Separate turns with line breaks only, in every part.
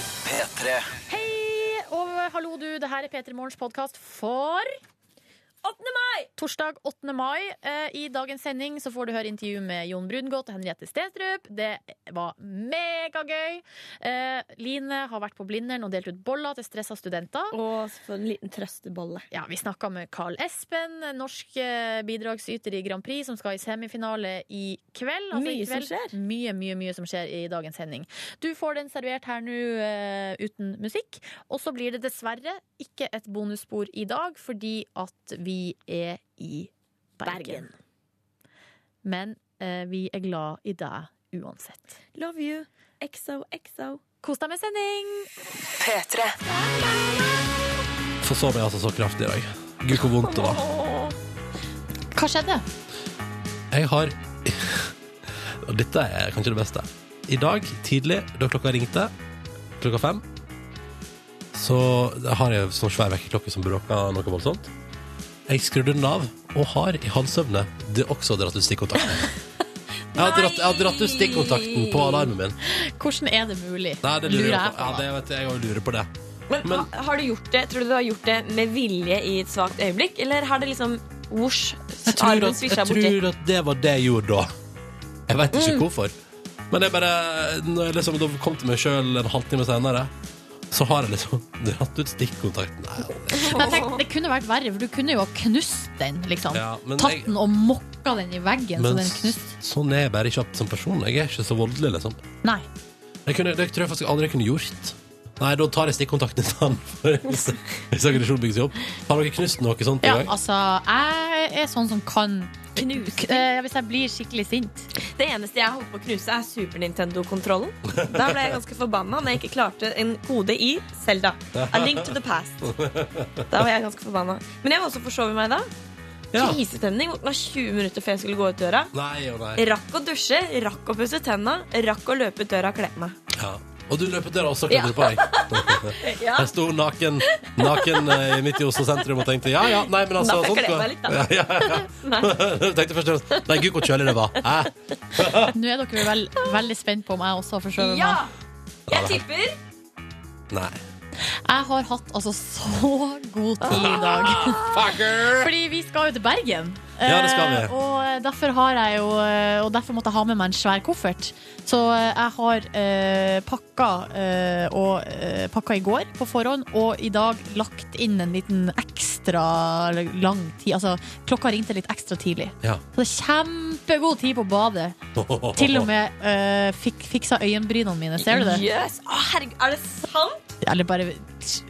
P3.
Hei og hallo, du. Det her er P3 Morgens podkast for
8. mai!
torsdag 8. mai. Eh, I dagens sending så får du høre intervju med Jon Brungot og Henriette Stenstrup. Det var megagøy. Eh, Line har vært på Blindern og delt ut boller til stressa studenter.
Og så en liten trøstebolle.
Ja, Vi snakka med Carl Espen, norsk eh, bidragsyter i Grand Prix, som skal i semifinale i kveld. Altså, i
Mye som
kveld.
skjer.
Mye, mye, mye som skjer i dagens sending. Du får den servert her nå eh, uten musikk. Og så blir det dessverre ikke et bonusspor i dag, fordi at vi er i Bergen.
Bergen.
Men eh, vi er glad i deg uansett.
Love you. Exo, exo.
Kos deg med sending!
P3.
Forsov meg altså så kraftig i dag. Gud, hvor vondt det var.
Hva skjedde?
Jeg har Og dette er kanskje det beste. I dag tidlig, da klokka ringte, klokka fem, så har jeg sånn svær vekkerklokke som bråker noe voldsomt. Jeg skrudde den av, og har i halvsøvne det også dratt ut stikkontakten. Jeg har dratt, jeg har dratt ut stikkontakten på alarmen min.
Hvordan er det mulig?
Nei, det lurer jeg
jeg
på. Ja, det vet jeg, jeg også lurer på det.
Men,
Men-
ha- har du gjort det, tror du du har gjort det med vilje i et svakt øyeblikk, eller har det liksom Wosj,
Jeg tror,
armen
at,
svisja
jeg
borti.
tror at det var det jeg gjorde da. Jeg veit ikke
Mm.
hvorfor. Men jeg bare, når jeg liksom da kom til meg sjøl en halvtime senere, så har jeg liksom dratt ut stikkontakten. Nei,
Men jeg tenkte, det kunne vært verre, for du kunne jo ha knust den. liksom
Ja, men
Tatt
jeg-
den og mokka den i veggen, så
Men
den knust.
sånn er jeg bare ikke som person. Jeg er ikke så voldelig, liksom.
Nei.
Det, kunne, det tror jeg faktisk aldri jeg kunne gjort. Nei, da tar jeg stikkontakten i stedet. for Hvis hvis aggresjonen bygger seg opp. Har dere knust noe sånt i
Ja,
dag?
altså, jeg er sånn som kan
Knuse.
Eh, Hvis jeg blir skikkelig sint.
Det eneste jeg holdt på å knuse, er Super Nintendo-kontrollen. Da ble jeg ganske forbanna når jeg ikke klarte en kode i Selda. A Link to the Past. Da var jeg ganske forbanna. Men jeg var også forsovet meg da.
Ja.
Krisestemning. Våkna 20 minutter før jeg skulle gå ut døra.
Nei og nei.
Rakk å dusje, rakk å pusse tenna, rakk å løpe ut døra og kle på meg.
Ja. Og du løp ut døra også, klarte du på deg. Jeg sto naken, naken eh, midt i Oslo sentrum og tenkte ja, ja, nei, men altså
Da får jeg
sånt
kle meg
går.
litt, da.
Ja, ja, ja.
Nei.
Jeg tenkte først og fremst, Nei, gud, hvor kjølig det var. Hæ?
Nå er dere vel veldig spent på om jeg også har forskjøvet
Ja!
meg.
Jeg tipper
Nei.
Jeg har hatt altså så god tid i dag.
Fucker!
Fordi vi skal jo til Bergen.
Ja, det skal vi.
Eh, Og derfor, har jeg jo, eh, og derfor måtte jeg ha med meg en svær koffert. Så eh, jeg har eh, pakka, eh, og, eh, pakka i går på forhånd, og i dag lagt inn en liten ekstra eller lang tid. Altså, klokka ringte litt ekstra tidlig.
Ja.
Så det er kjempegod tid på badet. Til og med eh, fik, fiksa øyenbrynene mine. Ser du det?
Yes. Å, herregud, er det sant?
Eller bare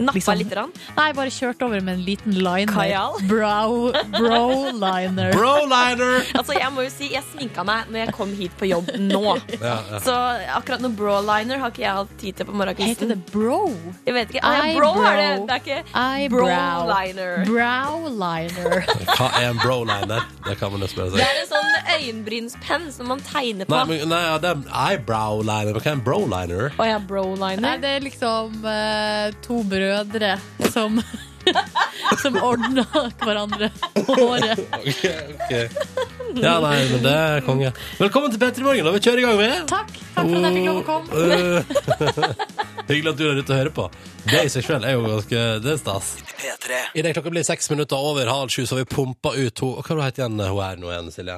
Nappa
liksom-
litt. Rann.
Nei, bare kjørt over med en liten liner.
Kajal?
Brow, brow liner.
Broliner!
Altså, jeg må jo si, jeg sminka meg når jeg kom hit på jobb nå.
Ja, ja.
Så akkurat noe brawliner har ikke jeg hatt tid til på
Heter
morgenkvisten.
det bro?
Jeg vet ikke. Ah, ja, bro
Eyebrow.
er det. Det er ikke
Eyebrow.
brawliner.
Brow liner.
Hva er en broliner? Det kan man jo spørre
Det
seg.
er en sånn øyenbrynspenn som man tegner på.
Nei, men, nei ja, det er en eyebrowliner. Men Hva er en broliner?
Å ja,
Nei,
broliner.
det er liksom eh, to brødre som Som ordna hverandre håret.
Ja, nei, men det er konge. Velkommen til P3 Morgen. La vi kjøre i gang med.
Takk. Takk for at jeg fikk lov å komme.
Eh, Hyggelig at du der ute hører på. Det i seg selv er jo ganske Det er stas.
P3.
Idet klokka blir seks minutter over halv sju, så har vi pumpa ut hun og Hva heter hun igjen hun er nå igjen, Silje?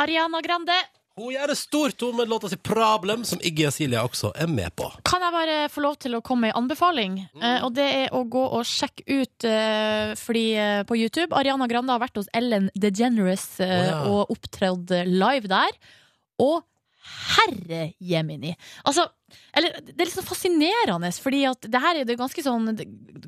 Ariana Grande,
Hun gjør det stort, hun med låta si 'Problem', som Iggy og Silje også er med på.
kan jeg bare få lov til å komme med en anbefaling?
Mm.
Eh, og det er å gå og sjekke ut eh, fordi, eh, på YouTube. Ariana Grande har vært hos Ellen DeGeneres eh,
Å, ja.
og opptrådt live der. Og herre jemini! Altså, eller, det er liksom fascinerende, fordi at det her er det ganske sånn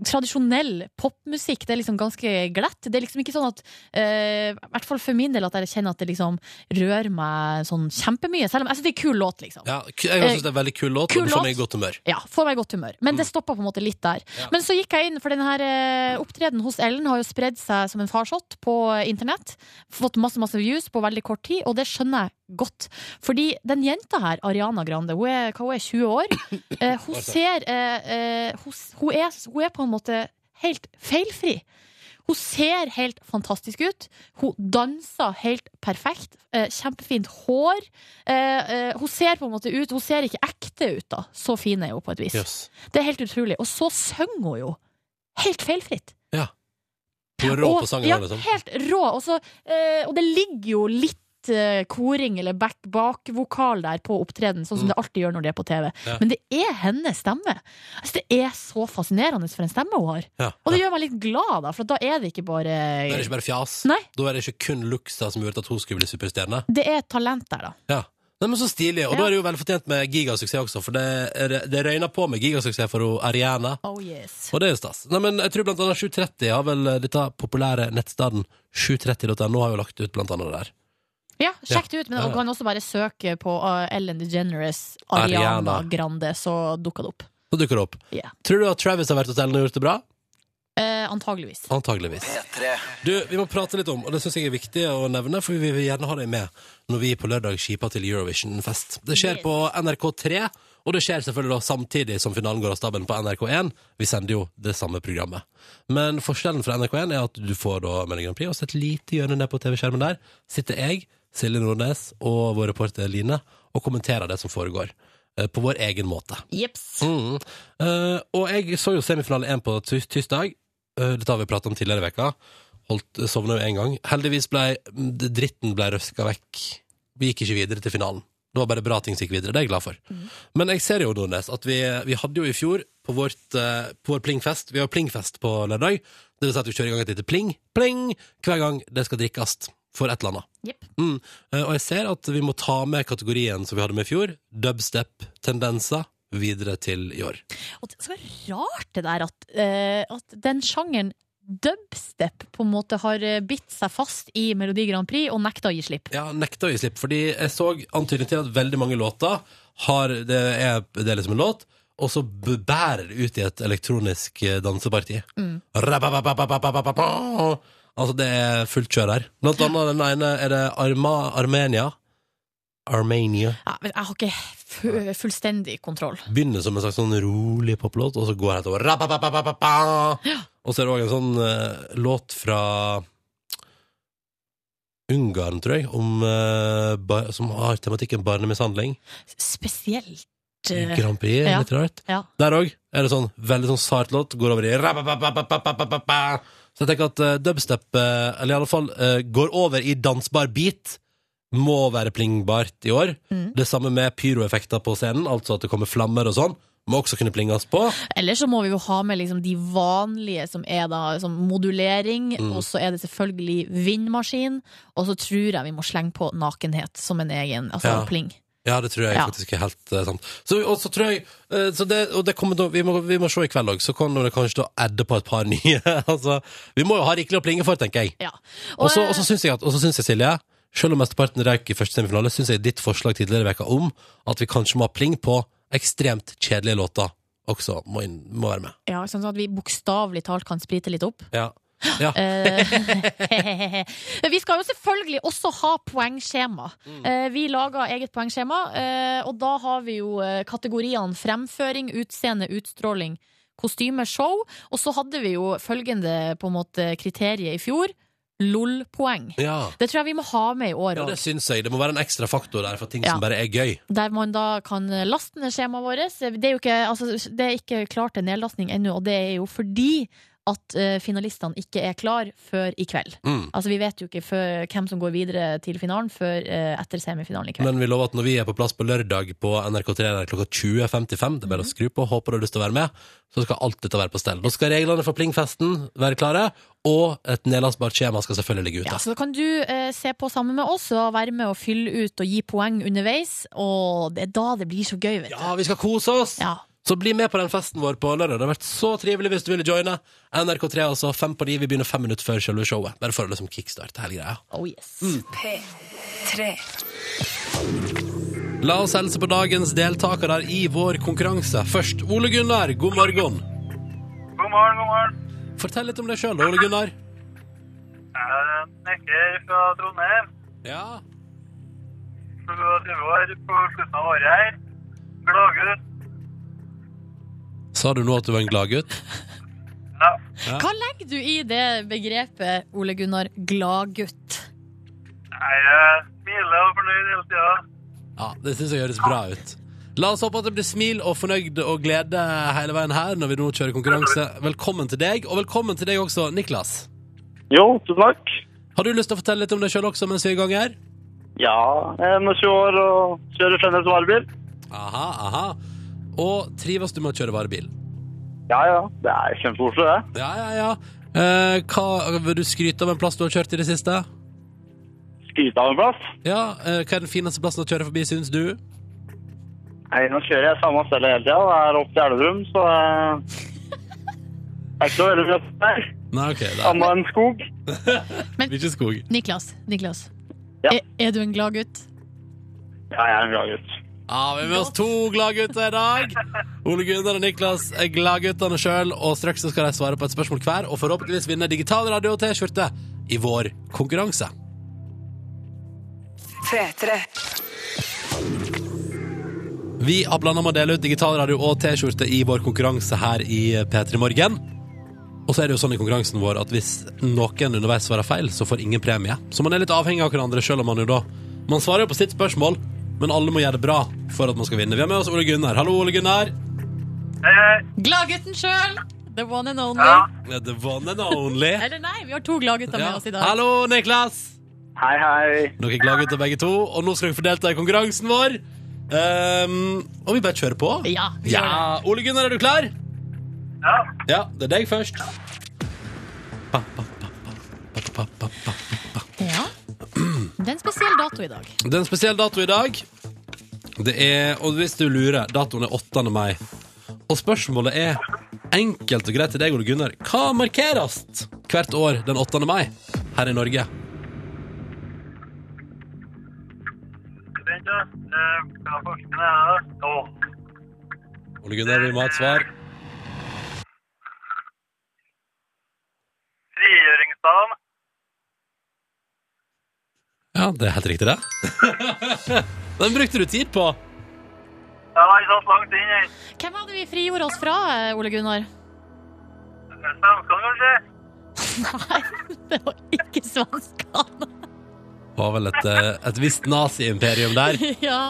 tradisjonell popmusikk. Det er liksom ganske glatt. Det er liksom ikke sånn at eh, I hvert fall for min del at jeg kjenner at det liksom rører meg sånn kjempemye. Selv om jeg syns det er en kul låt, liksom.
Ja, k- jeg syns det er en veldig kul låt,
Kul
og du får
låt.
meg i godt humør.
Ja, får meg i godt humør. Men det stoppa på en måte litt der. Men så gikk jeg inn, for denne her eh, opptredenen hos Ellen har jo spredd seg som en farsott på internett. Fått masse masse views på veldig kort tid, og det skjønner jeg godt. Fordi den jenta her, Ariana Grande, hun er, hva, hun er 20 år. Eh, hun ser eh, eh, hun, s- hun, er, hun er på en måte helt feilfri. Hun ser helt fantastisk ut. Hun danser helt perfekt. Eh, kjempefint hår. Eh, eh, hun ser på en måte ut Hun ser ikke ekte ut, da. Så fin er hun på et vis.
Jøss.
Det er helt utrolig. Og så synger hun jo helt feilfritt.
Hun er rå
Og-
på sangen
ja,
òg, liksom.
Helt rå. Og, så, eh, og det ligger jo litt eh, koring eller back, bakvokal der på opptreden, sånn som
Mm.
det alltid gjør når de er på TV.
Ja.
Men det er hennes stemme. Altså, det er så fascinerende for en stemme hun har.
Ja.
Og
Ja.
det gjør meg litt glad, da, for da er det ikke bare
Da er det ikke bare fjas.
Nei.
Da er det ikke kun luksa som gjorde at hun skulle bli superstjerne.
Det er et talent der, da.
Ja. Nei, men Så stilig. Og
Ja.
da er det jo velfortjent med gigasuksess også, for det, er- det røyner på med gigasuksess for hun Ariana.
Oh yes.
Og det er jo stas. Nei, men jeg tror blant annet 730 har vel eh, dette populære nettstedet 730.no har jo lagt ut blant annet det der.
Ja, sjekk det ut. Men
Ja, ja.
du kan også bare søke på eh, Ellen DeGeneres,
Ariana.
Ariana, Grande, så dukker det opp.
Så dukker det opp.
Ja.
Tror du at Travis har vært hos Ellen og gjort det bra?
Eh, antageligvis.
Antageligvis. Du, vi må prate litt om, og det syns jeg er viktig å nevne, for vi vil gjerne ha deg med når vi på lørdag skiper til Eurovision-fest. Det skjer
Yes.
på NRK3, og det skjer selvfølgelig da samtidig som finalen går av stabelen på NRK1. Vi sender jo det samme programmet. Men forskjellen fra NRK1 er at du får da Melodi Grand Prix, og så et lite hjørne ned på TV-skjermen der sitter jeg, Silje Nordnes og vår reporter Line og kommenterer det som foregår. eh, På vår egen måte.
Jeps.
Mm. Eh, og jeg så jo semifinale 1 på tis- tirsdag. Eh, dette har vi pratet om tidligere i veka. Holdt, sovna jo én gang. Heldigvis ble mm, d- dritten ble røska vekk. Vi gikk ikke videre til finalen. Det var bare bra ting som gikk videre. Det er jeg glad for. Men jeg ser jo, Nordnes, at vi, vi hadde jo i fjor på, vårt, eh, på vår plingfest Vi har jo plingfest på lørdag. Det vil si at vi kjører i gang et lite pling, pling hver gang det skal drikkes for et eller annet.
Jepp.
Mm. Eh, Og jeg ser at vi må ta med kategorien som vi hadde med i fjor, dubstep-tendenser, videre til i år.
Og det er så rart det der at, eh, at den sjangeren dubstep på en måte har eh, bitt seg fast i Melodi Grand Prix og nekta å gi slipp.
Ja, nekta å gi slipp, fordi jeg så antydning til at veldig mange låter har Det er, det er liksom en låt, og så b- bærer det ut i et elektronisk eh, danseparti. Rabababababababa. Altså, det er fullt kjør her. Blant annet den ene er det Arma, Armenia. Armenia.
Ja, men jeg har ikke fu- fullstendig kontroll.
begynner som en slags sånn rolig poplåt, og så går det helt over «Rapapapapapa». Og så er det òg en sånn eh, låt fra Ungarn, tror jeg, om, eh, bar, som har tematikken barnemishandling.
Spesielt eh,
Grand Prix,
ja.
litt rart.
Ja.
Der òg er det sånn veldig sånn sart låt, går over i «Rapapapapapapapa». Så jeg tenker at eh, dubstep, eh, eller i alle fall eh, går over i dansbar beat, må være plingbart i år.
Mm.
Det samme med pyroeffekter på scenen, altså at det kommer flammer og sånn. Må også kunne plinges på.
Eller så må vi jo ha med liksom de vanlige som er da som modulering,
Mm.
og så er det selvfølgelig vindmaskin, og så tror jeg vi må slenge på nakenhet som en egen altså
Ja.
pling.
Ja, det tror jeg
Ja.
faktisk er helt eh, sant. Så, og så tror jeg eh, så det, Og det kommer, til å- vi, må, vi må se i kveld òg, så kommer det kanskje til å adde på et par nye. altså, vi må jo ha rikelig å plinge for, tenker jeg.
Ja.
Og så
eh,
og så syns jeg, at- og så syns jeg, Silje, selv om mesteparten røyk i første semifinale, syns jeg ditt forslag tidligere i veka om at vi kanskje må ha pling på ekstremt kjedelige låter også må, inn, må være med.
ja, sånn at vi bokstavelig talt kan sprite litt opp.
Ja. ja.
Eh, Men Eh, vi skal jo selvfølgelig også ha poengskjema.
Mm.
Eh, Vi lager eget poengskjema, eh, og da har vi jo eh, kategoriene fremføring, utseende, utstråling, kostyme, show. Og så hadde vi jo følgende på en måte kriterie i fjor. LOL-poeng.
ja.
Det tror jeg vi må ha med i år
Ja, det
òg.
syns jeg. Det må være en ekstra faktor der for ting
Ja.
som bare er gøy.
Der man da kan laste ned skjemaet vårt. Det er jo ikke, altså, det er ikke klart til nedlastning ennå, og det er jo fordi at eh, finalistene ikke er klar før i kveld.
Mm.
Altså, vi vet jo ikke før, hvem som går videre til finalen før eh, etter semifinalen i kveld.
Men vi lover at når vi er på plass på lørdag på NRK3 der klokka 20.55, det er bare å skru på, håper du har lyst til å være med, så skal alt dette være på stell. Da skal reglene for plingfesten være klare, og et nedlastbart skjema skal selvfølgelig ligge ute.
ja, så da kan du eh, se på sammen med oss og være med og fylle ut og gi poeng underveis. Og det er da det blir så gøy, vet du.
Ja, vi skal kose oss!
Ja.
Så bli med på den festen vår på lørdag. Det har vært så trivelig hvis du ville joine. NRK3 altså, fem på de. Vi begynner fem minutter før selve showet. Bare for å liksom kickstarte hele greia.
Oh yes.
Mm, La oss helse på dagens deltakere i vår konkurranse. Først Ole Gunnar, god morgen.
God morgen, god morgen.
Fortell litt om deg sjøl, Ole Gunnar.
Jeg mekker fra Trondheim.
Ja,
27 år på slutten av året her. Gladgutt.
Sa du nå at du var en gladgutt?
Ja.
Ja.
Hva legger du i det begrepet, Ole Gunnar gladgutt?
Nei, jeg smiler og er fornøyd hele tida.
Ja, det syns jeg høres bra ut. La oss håpe at det blir smil og fornøyd og glede hele veien her når vi nå kjører konkurranse. Velkommen til deg, og velkommen til deg også, Niklas.
Jo, tusen takk.
Har du lyst til å fortelle litt om deg sjøl også mens vi er i gang her?
Ja, jeg er 20 år og kjører fremdeles varebil.
Aha, aha. Og trives du med å kjøre varebil?
Ja, ja. Det er kjempekoselig, det.
Ja, ja, ja. Eh, hva, vil du skryte av en plass du har kjørt i det siste?
Skryte av en plass.
Ja, eh, Hva er den fineste plassen å kjøre forbi, syns du?
Nei, nå kjører jeg samme sted hele tida. Det er opp til Elverum, så eh, Det er ikke så veldig mye der.
Nei, ok, det er
Annet enn skog.
ikke skog.
Niklas, Niklas.
Ja.
Er, er du en gladgutt?
Ja, jeg er en glad gutt.
Ja, Ah, Vi er med oss to gladgutter i dag. Ole Gunnar og Niklas er gladguttene sjøl, og straks så skal de svare på et spørsmål hver og forhåpentligvis vinne digital radio og T-skjorte i vår konkurranse. Vi har blanda med å dele ut digital radio og T-skjorte i vår konkurranse her i P3 Morgen. Og så er det jo sånn i konkurransen vår at hvis noen underveis svarer feil, så får ingen premie. Så man er litt avhengig av hverandre, sjøl om man jo da Man svarer jo på sitt spørsmål, men alle må gjøre det bra for at man skal vinne. Vi har med oss Ole Gunnar. Hallo, Ole Gunnar.
Hei, hei.
Gladgutten sjøl! The one and only.
Ja.
The one and only.
Eller nei, vi har to gladgutter med oss i dag.
Hallo, Niklas.
Hei, hei.
Dere er gladgutter begge to, og nå skal dere få delta i konkurransen vår. Ehm, og vi bare kjører på.
Ja, vi gjør
ja. Ole Gunnar, er du klar?
Ja.
Ja, det er deg først.
Ja. Det er en spesiell dato i dag.
Det er en spesiell dato i dag. Det er, og hvis du lurer, datoen er 8. mai. Og spørsmålet er enkelt og greit til deg, Ole Gunnar. Hva markeres hvert år den 8. mai her i Norge?
Vent, da. Eh, Hva forskningen er det? Å,
Ole Gunnar, vi må ha et svar.
frigjøringsdagen.
Ja, det er helt riktig, det. Den brukte du tid på.
Ja, jeg satt langt inn, jeg.
Hvem hadde vi frigjort oss fra, eh, Ole Gunnar?
Svenskene, kanskje?
Nei, det var ikke svenskene.
Det var vel et, eh, et visst nazi-imperium der.
Ja.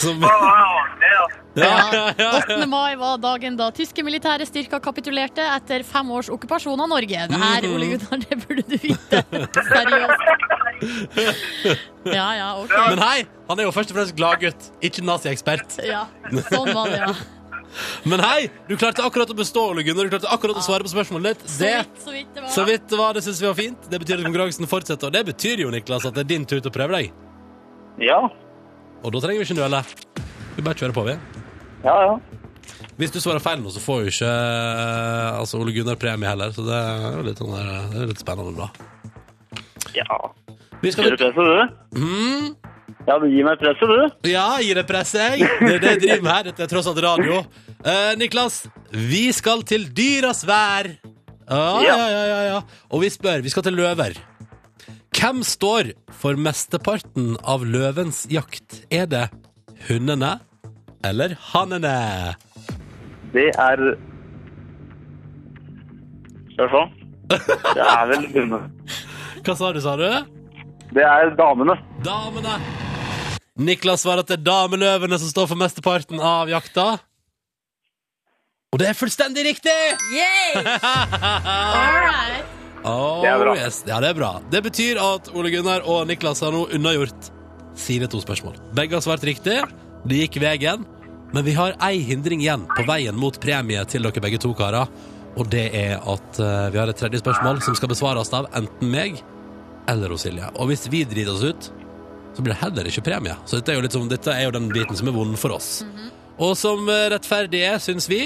Som,
Å,
ja,
ja, artig, ja.
ja, ja.
8. mai var dagen da tyske militære styrker kapitulerte etter fem års okkupasjon av Norge. Det
Mhm.
her, Ole Gunnar, det burde du vite. Seriøst. Ja, ja,
Men
ok.
hei, han er jo først og fremst gladgutt, ikke nazi-ekspert.
Ja, sånn var det, ja.
Men hei, du klarte akkurat å bestå, Ole Gunnar. Du klarte akkurat å svare på spørsmålet ditt.
Så
Det
vidt, så vidt det var.
Så vidt det var, det synes vi var fint. Det betyr at konkurransen fortsetter, og det betyr jo, Niklas, at det er din tur til å prøve deg.
Ja.
Og da trenger vi ikke nøle. Vi bare kjører på, vi.
Ja, ja.
Hvis du svarer feil nå, så får jo ikke eh, altså Ole Gunnar premie heller, så det er jo litt, sånn der, det er litt spennende, da.
Ja.
Vi skal
Gir du presset, du?
mm,
Ja, du gir meg presset, du.
Ja, gi det presset, jeg. Det er det jeg driver med her. Dette er tross alt radio. Eh, Niklas, vi skal til dyras vær. Ja, ja, ja, ja, ja. Og vi spør, vi skal til løver. Hvem står for mesteparten av løvens jakt? Er det hundene eller hannene?
Det er Skal vi se. Det er vel dumme.
Hva sa du, sa du?
Det er damene.
Damene. Niklas svarer at det er dameløvene som står for mesteparten av jakta. Og det er fullstendig riktig!
Yay! All right.
Oh,
Det er bra.
Yes. Ja, det er bra. Det betyr at Ole Gunnar og Niklas har nå unnagjort sine to spørsmål. Begge har svart riktig. Det gikk veien. Men vi har ei hindring igjen på veien mot premie til dere begge to karer. Og det er at eh, vi har et tredje spørsmål som skal besvares av enten meg eller hos Silje. Og hvis vi driter oss ut, så blir det heller ikke premie. Så dette er jo, litt som, dette er jo den biten som er vond for oss.
Mhm.
Og som eh, rettferdig er, syns vi,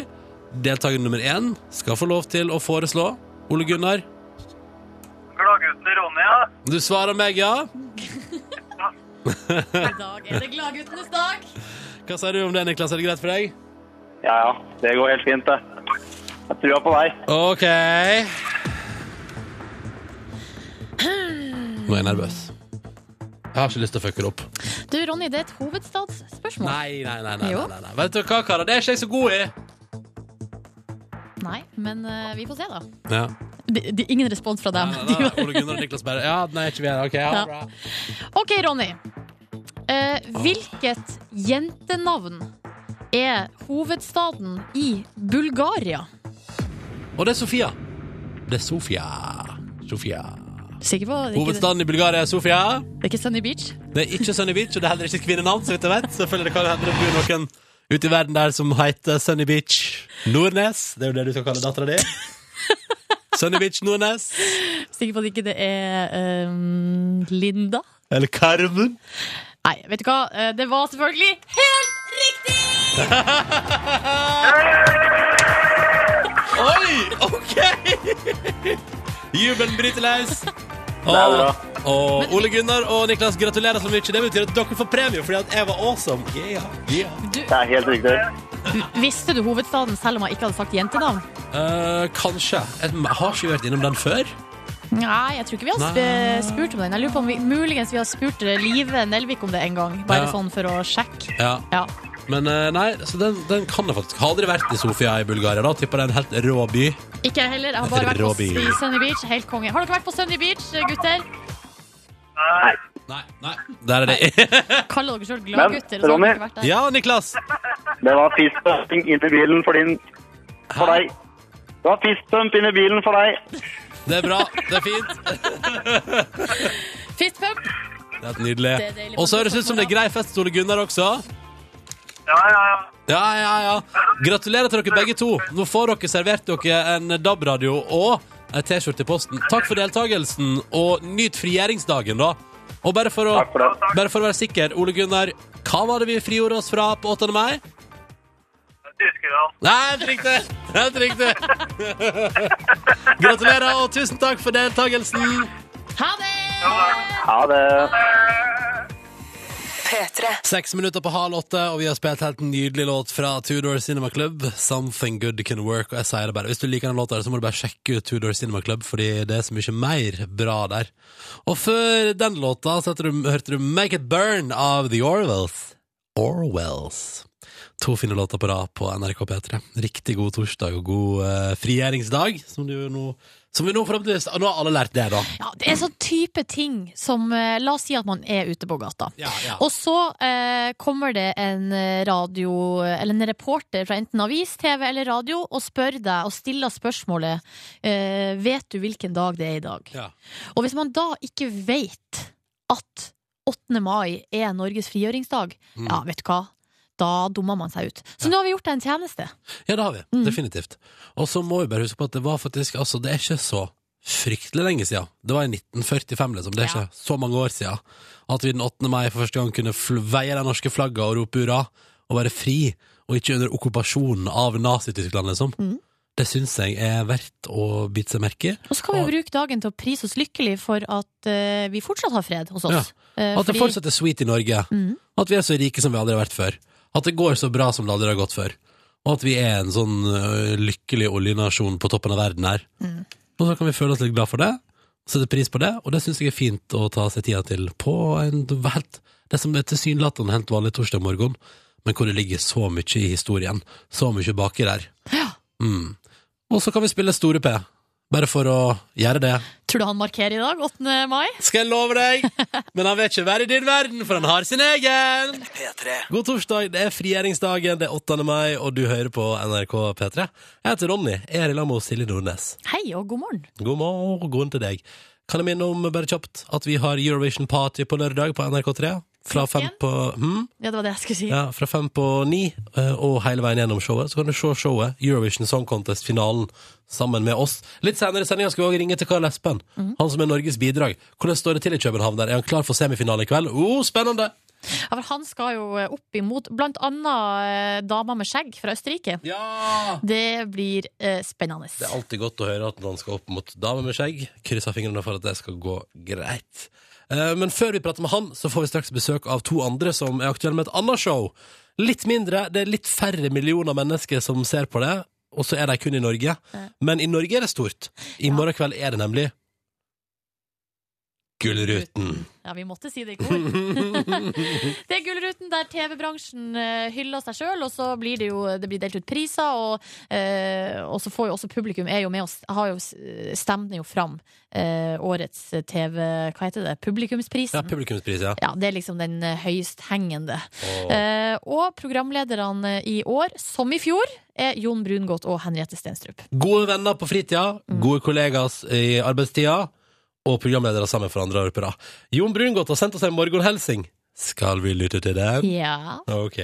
deltaker nummer én skal få lov til å foreslå Ole Gunnar.
Gladgutten Ronny, ja.
Du svarer meg, ja.
I dag er det gladguttenes dag.
Hva sier du om det, Niklas? Er det greit for deg?
Ja, ja. Det går helt fint, det. Jeg trua på deg.
OK. Nå er jeg nervøs. Jeg har ikke lyst til å fucke det opp.
Du, Ronny, det er et hovedstadsspørsmål.
Nei, nei, nei. nei,
Jo.
nei, nei, nei. Vet du hva, karer? Det er ikke jeg så god i.
Nei, men eh, vi får se, da.
Ja.
De, de, ingen respons fra dem.
Nei, nei, nei, Ole Gunnar og Niklas bare Ja, nei, ikke vi her. OK, ha
Ja.
det bra.
Ok, Ronny.
Ah.
Eh, hvilket jentenavn er hovedstaden i Bulgaria?
Og det er Sofia. Det er Sofia. Sofia.
Sikker på det er ikke,
Hovedstaden i Bulgaria er Sofia.
det er ikke Sunny Beach?
Det er ikke Sunny Beach, og det er heller ikke et kvinnenavn, så vidt jeg vet. Selvfølgelig det kan hende det bor noen ute i verden der som heter Sunny Beach Nordnes. Det er jo det du skal kalle dattera di. Sunny Beach Nordnes.
Sikker på at ikke det er ehm, Linda?
Eller Carmen.
Nei, vet du hva? Eh, Det var selvfølgelig helt riktig!
Oi! OK! Jubelen bryter løs.
er bra.
Og, og Ole Gunnar og Niklas, gratulerer så mye. Det betyr at dere får premie fordi at jeg var awesome. Yeah, yeah.
Det er helt riktig.
Visste du hovedstaden selv om jeg ikke hadde sagt jentenavn?
Eh, kanskje. Jeg har ikke vært innom den før.
Nei, jeg tror ikke vi har sp
Nei.
spurt om den. Jeg lurer på om vi, Muligens vi har spurt eh, Live Nelvik om det en gang, bare
Ja.
sånn for å sjekke.
Ja.
Ja.
Men eh, nei, så den, den kan jeg faktisk. Hadde det vært i Sofia i Bulgaria, da tipper det er en helt rå by.
Ikke jeg heller. Jeg har bare vært på
Robby.
i Sunny Beach. Helt konge. Har dere vært på Sunny Beach, gutter?
Nei.
Nei, nei. Der er det.
Kaller dere sjøl gladgutter? og så har
Ronny.
dere ikke vært der.
ja, Niklas.
Det var fistpumping inn i bilen for, din, for deg. Det var fistpump inn i bilen for deg.
Det er bra. Det er fint.
Fist pump!
Det er nydelig.
Det er deilig.
Og så høres det ut som det er grei fest hos Ole Gunnar også.
Ja, ja, ja.
Ja, ja, ja. Gratulerer til dere begge to. Nå får dere servert dere en DAB-radio og ei T-skjorte i posten. Takk for deltakelsen, og nyt frigjøringsdagen, da. Og bare for, å,
Takk for det.
bare for å være sikker, Ole Gunnar, hva var det vi frigjorde oss fra på 8. mai?
Tyskland.
Nei, helt riktig! Helt riktig! Gratulerer, og tusen takk for deltakelsen.
Ha det!
Ha det.
Seks minutter på halv åtte, og vi har spilt helt en nydelig låt fra Tudor Cinema Club. 'Something Good Can Work'. Og jeg sier det bare, hvis du liker den låta, her, så må du bare sjekke ut Tudor Cinema Club, fordi det er så mye mer bra der. Og før den låta så hørte du, hørte du 'Make It Burn' av The Orwells. Orwells. To fine låter på rad på NRK P3. Riktig god torsdag og god eh, frigjøringsdag, som, du nå, som vi nå forhåpentligvis Nå har alle lært det, da.
Ja, det er sånn type ting som eh, La oss si at man er ute på gata.
Ja, ja.
Og så eh, kommer det en eh, radio Eller en reporter fra enten avis, TV eller radio og spør deg og stiller spørsmålet eh, Vet du hvilken dag det er i dag.
Ja.
Og hvis man da ikke vet at 8. mai er Norges frigjøringsdag,
Mm.
ja, vet du hva? Da dummer man seg ut. Så nå har vi gjort deg en tjeneste.
Ja, det har vi.
Mm.
Definitivt. Og så må vi bare huske på at det var faktisk Altså, det er ikke så fryktelig lenge siden. Det var i 1945, liksom. Det er
Ja.
ikke så mange år siden at vi den 8. mai for første gang kunne fl- veie de norske flagga og rope hurra og være fri, og ikke under okkupasjonen av Nazi-Tyskland, liksom.
Mm.
Det syns jeg er verdt å bite seg merke i.
Og så kan vi
Og-
jo bruke dagen til å prise oss lykkelig for at eh, vi fortsatt har fred hos oss. Eh,
At det
fordi-
fortsatt er sweet i Norge.
Mm.
At vi er så rike som vi aldri har vært før. At det går så bra som det aldri har gått før. Og at vi er en sånn ø, lykkelig oljenasjon på toppen av verden her.
Mm.
Og så kan vi føle oss litt glad for det, sette pris på det, og det syns jeg er fint å ta seg tida til på en helt Det som er tilsynelatende helt vanlig torsdag morgen, men hvor det ligger så mye i historien. Så mye baki der. Mm. Og så kan vi spille Store P, bare for å gjøre det
Tror du han markerer i dag, 8. mai?
skal jeg love deg. Men han vil ikke være i din verden, for han har sin egen. God torsdag, det er frigjøringsdagen, det er 8. mai, og du hører på NRK P3. Jeg heter Ronny, jeg er i lag med Silje Nordnes.
Hei og god morgen.
God morgen til deg. Kan jeg minne om bare kjapt at vi har Eurovision Party på lørdag på NRK3? Fra fem
Klokken?
på hm?
Ja, det var det jeg skulle si.
Ja, fra fem på ni eh, og hele veien gjennom showet. Så kan du se showet, Eurovision Song Contest-finalen, sammen med oss. Litt senere i sendinga skal vi også ringe til Karl Espen, han som er Norges bidrag. Hvordan står det til i København der? Er han klar for semifinale i kveld? Oh, spennende!
Ja, for han skal jo eh, opp imot blant annet eh, dama med skjegg fra Østerrike.
Ja!
Det blir eh, spennende.
Det er alltid godt å høre at han skal opp mot damer med skjegg. Krysser fingrene for at det skal gå greit. Eh, Men før vi prater med han, så får vi straks besøk av to andre som er aktuelle med et annet show. Litt mindre, det er litt færre millioner mennesker som ser på det, og så er de kun i Norge. Men i Norge er det stort. I
Ja.
morgen kveld er det nemlig Gullruten.
Ja, vi måtte si det i kor. det er Gullruten der TV-bransjen eh, hyller seg sjøl, og så blir det jo det blir delt ut priser, og, eh, og så får jo også publikum er jo med og s- har jo, s- stemmer jo fram eh, årets TV Hva heter det?
Ja,
Publikumsprisen. Ja,
publikumspris, ja.
det er liksom den eh, høyesthengende.
Åh.
Eh, og programlederne i år, som i fjor, er Jon Brungot og Henriette Stenstrup.
Gode venner på fritida, gode kollegas i arbeidstida, og programledere sammen for andre år på rad. Jon Brungot har sendt oss en morgenhelsing. Skal vi lytte til den?
Ja.
Ok.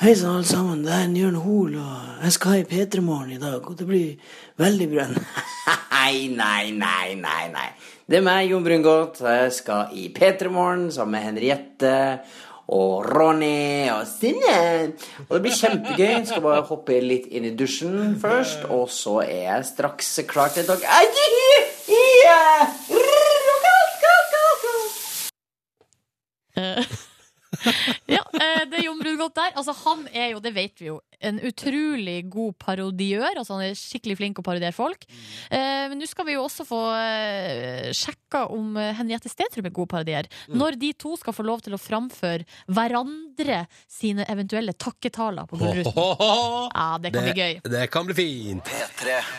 Hei sann, alle sammen. Det er Jørn Hoel, og jeg skal i P3 Morgen i dag. Og det blir veldig bra. nei, nei, nei, nei. nei. Det er meg, Jon Brungot. Jeg skal i P3 Morgen sammen med Henriette og Ronny og Synne. Og det blir kjempegøy. Jeg skal bare hoppe litt inn i dusjen først, og så er jeg straks klar til dag.
Ja, eh, det er Jon Brungot der. Altså, han er jo, det vet vi jo, en utrolig god parodiør. Altså, han er skikkelig flink å parodiere folk.
Mm.
Eh, men nå skal vi jo også få eh, sjekka om eh, Henriette Stenstrup er god parodier.
Mm.
Når de to skal få lov til å framføre hverandre sine eventuelle takketaler på Gullruten.
Ho-ho-ho!
Ja, det kan bli gøy.
det kan bli fint.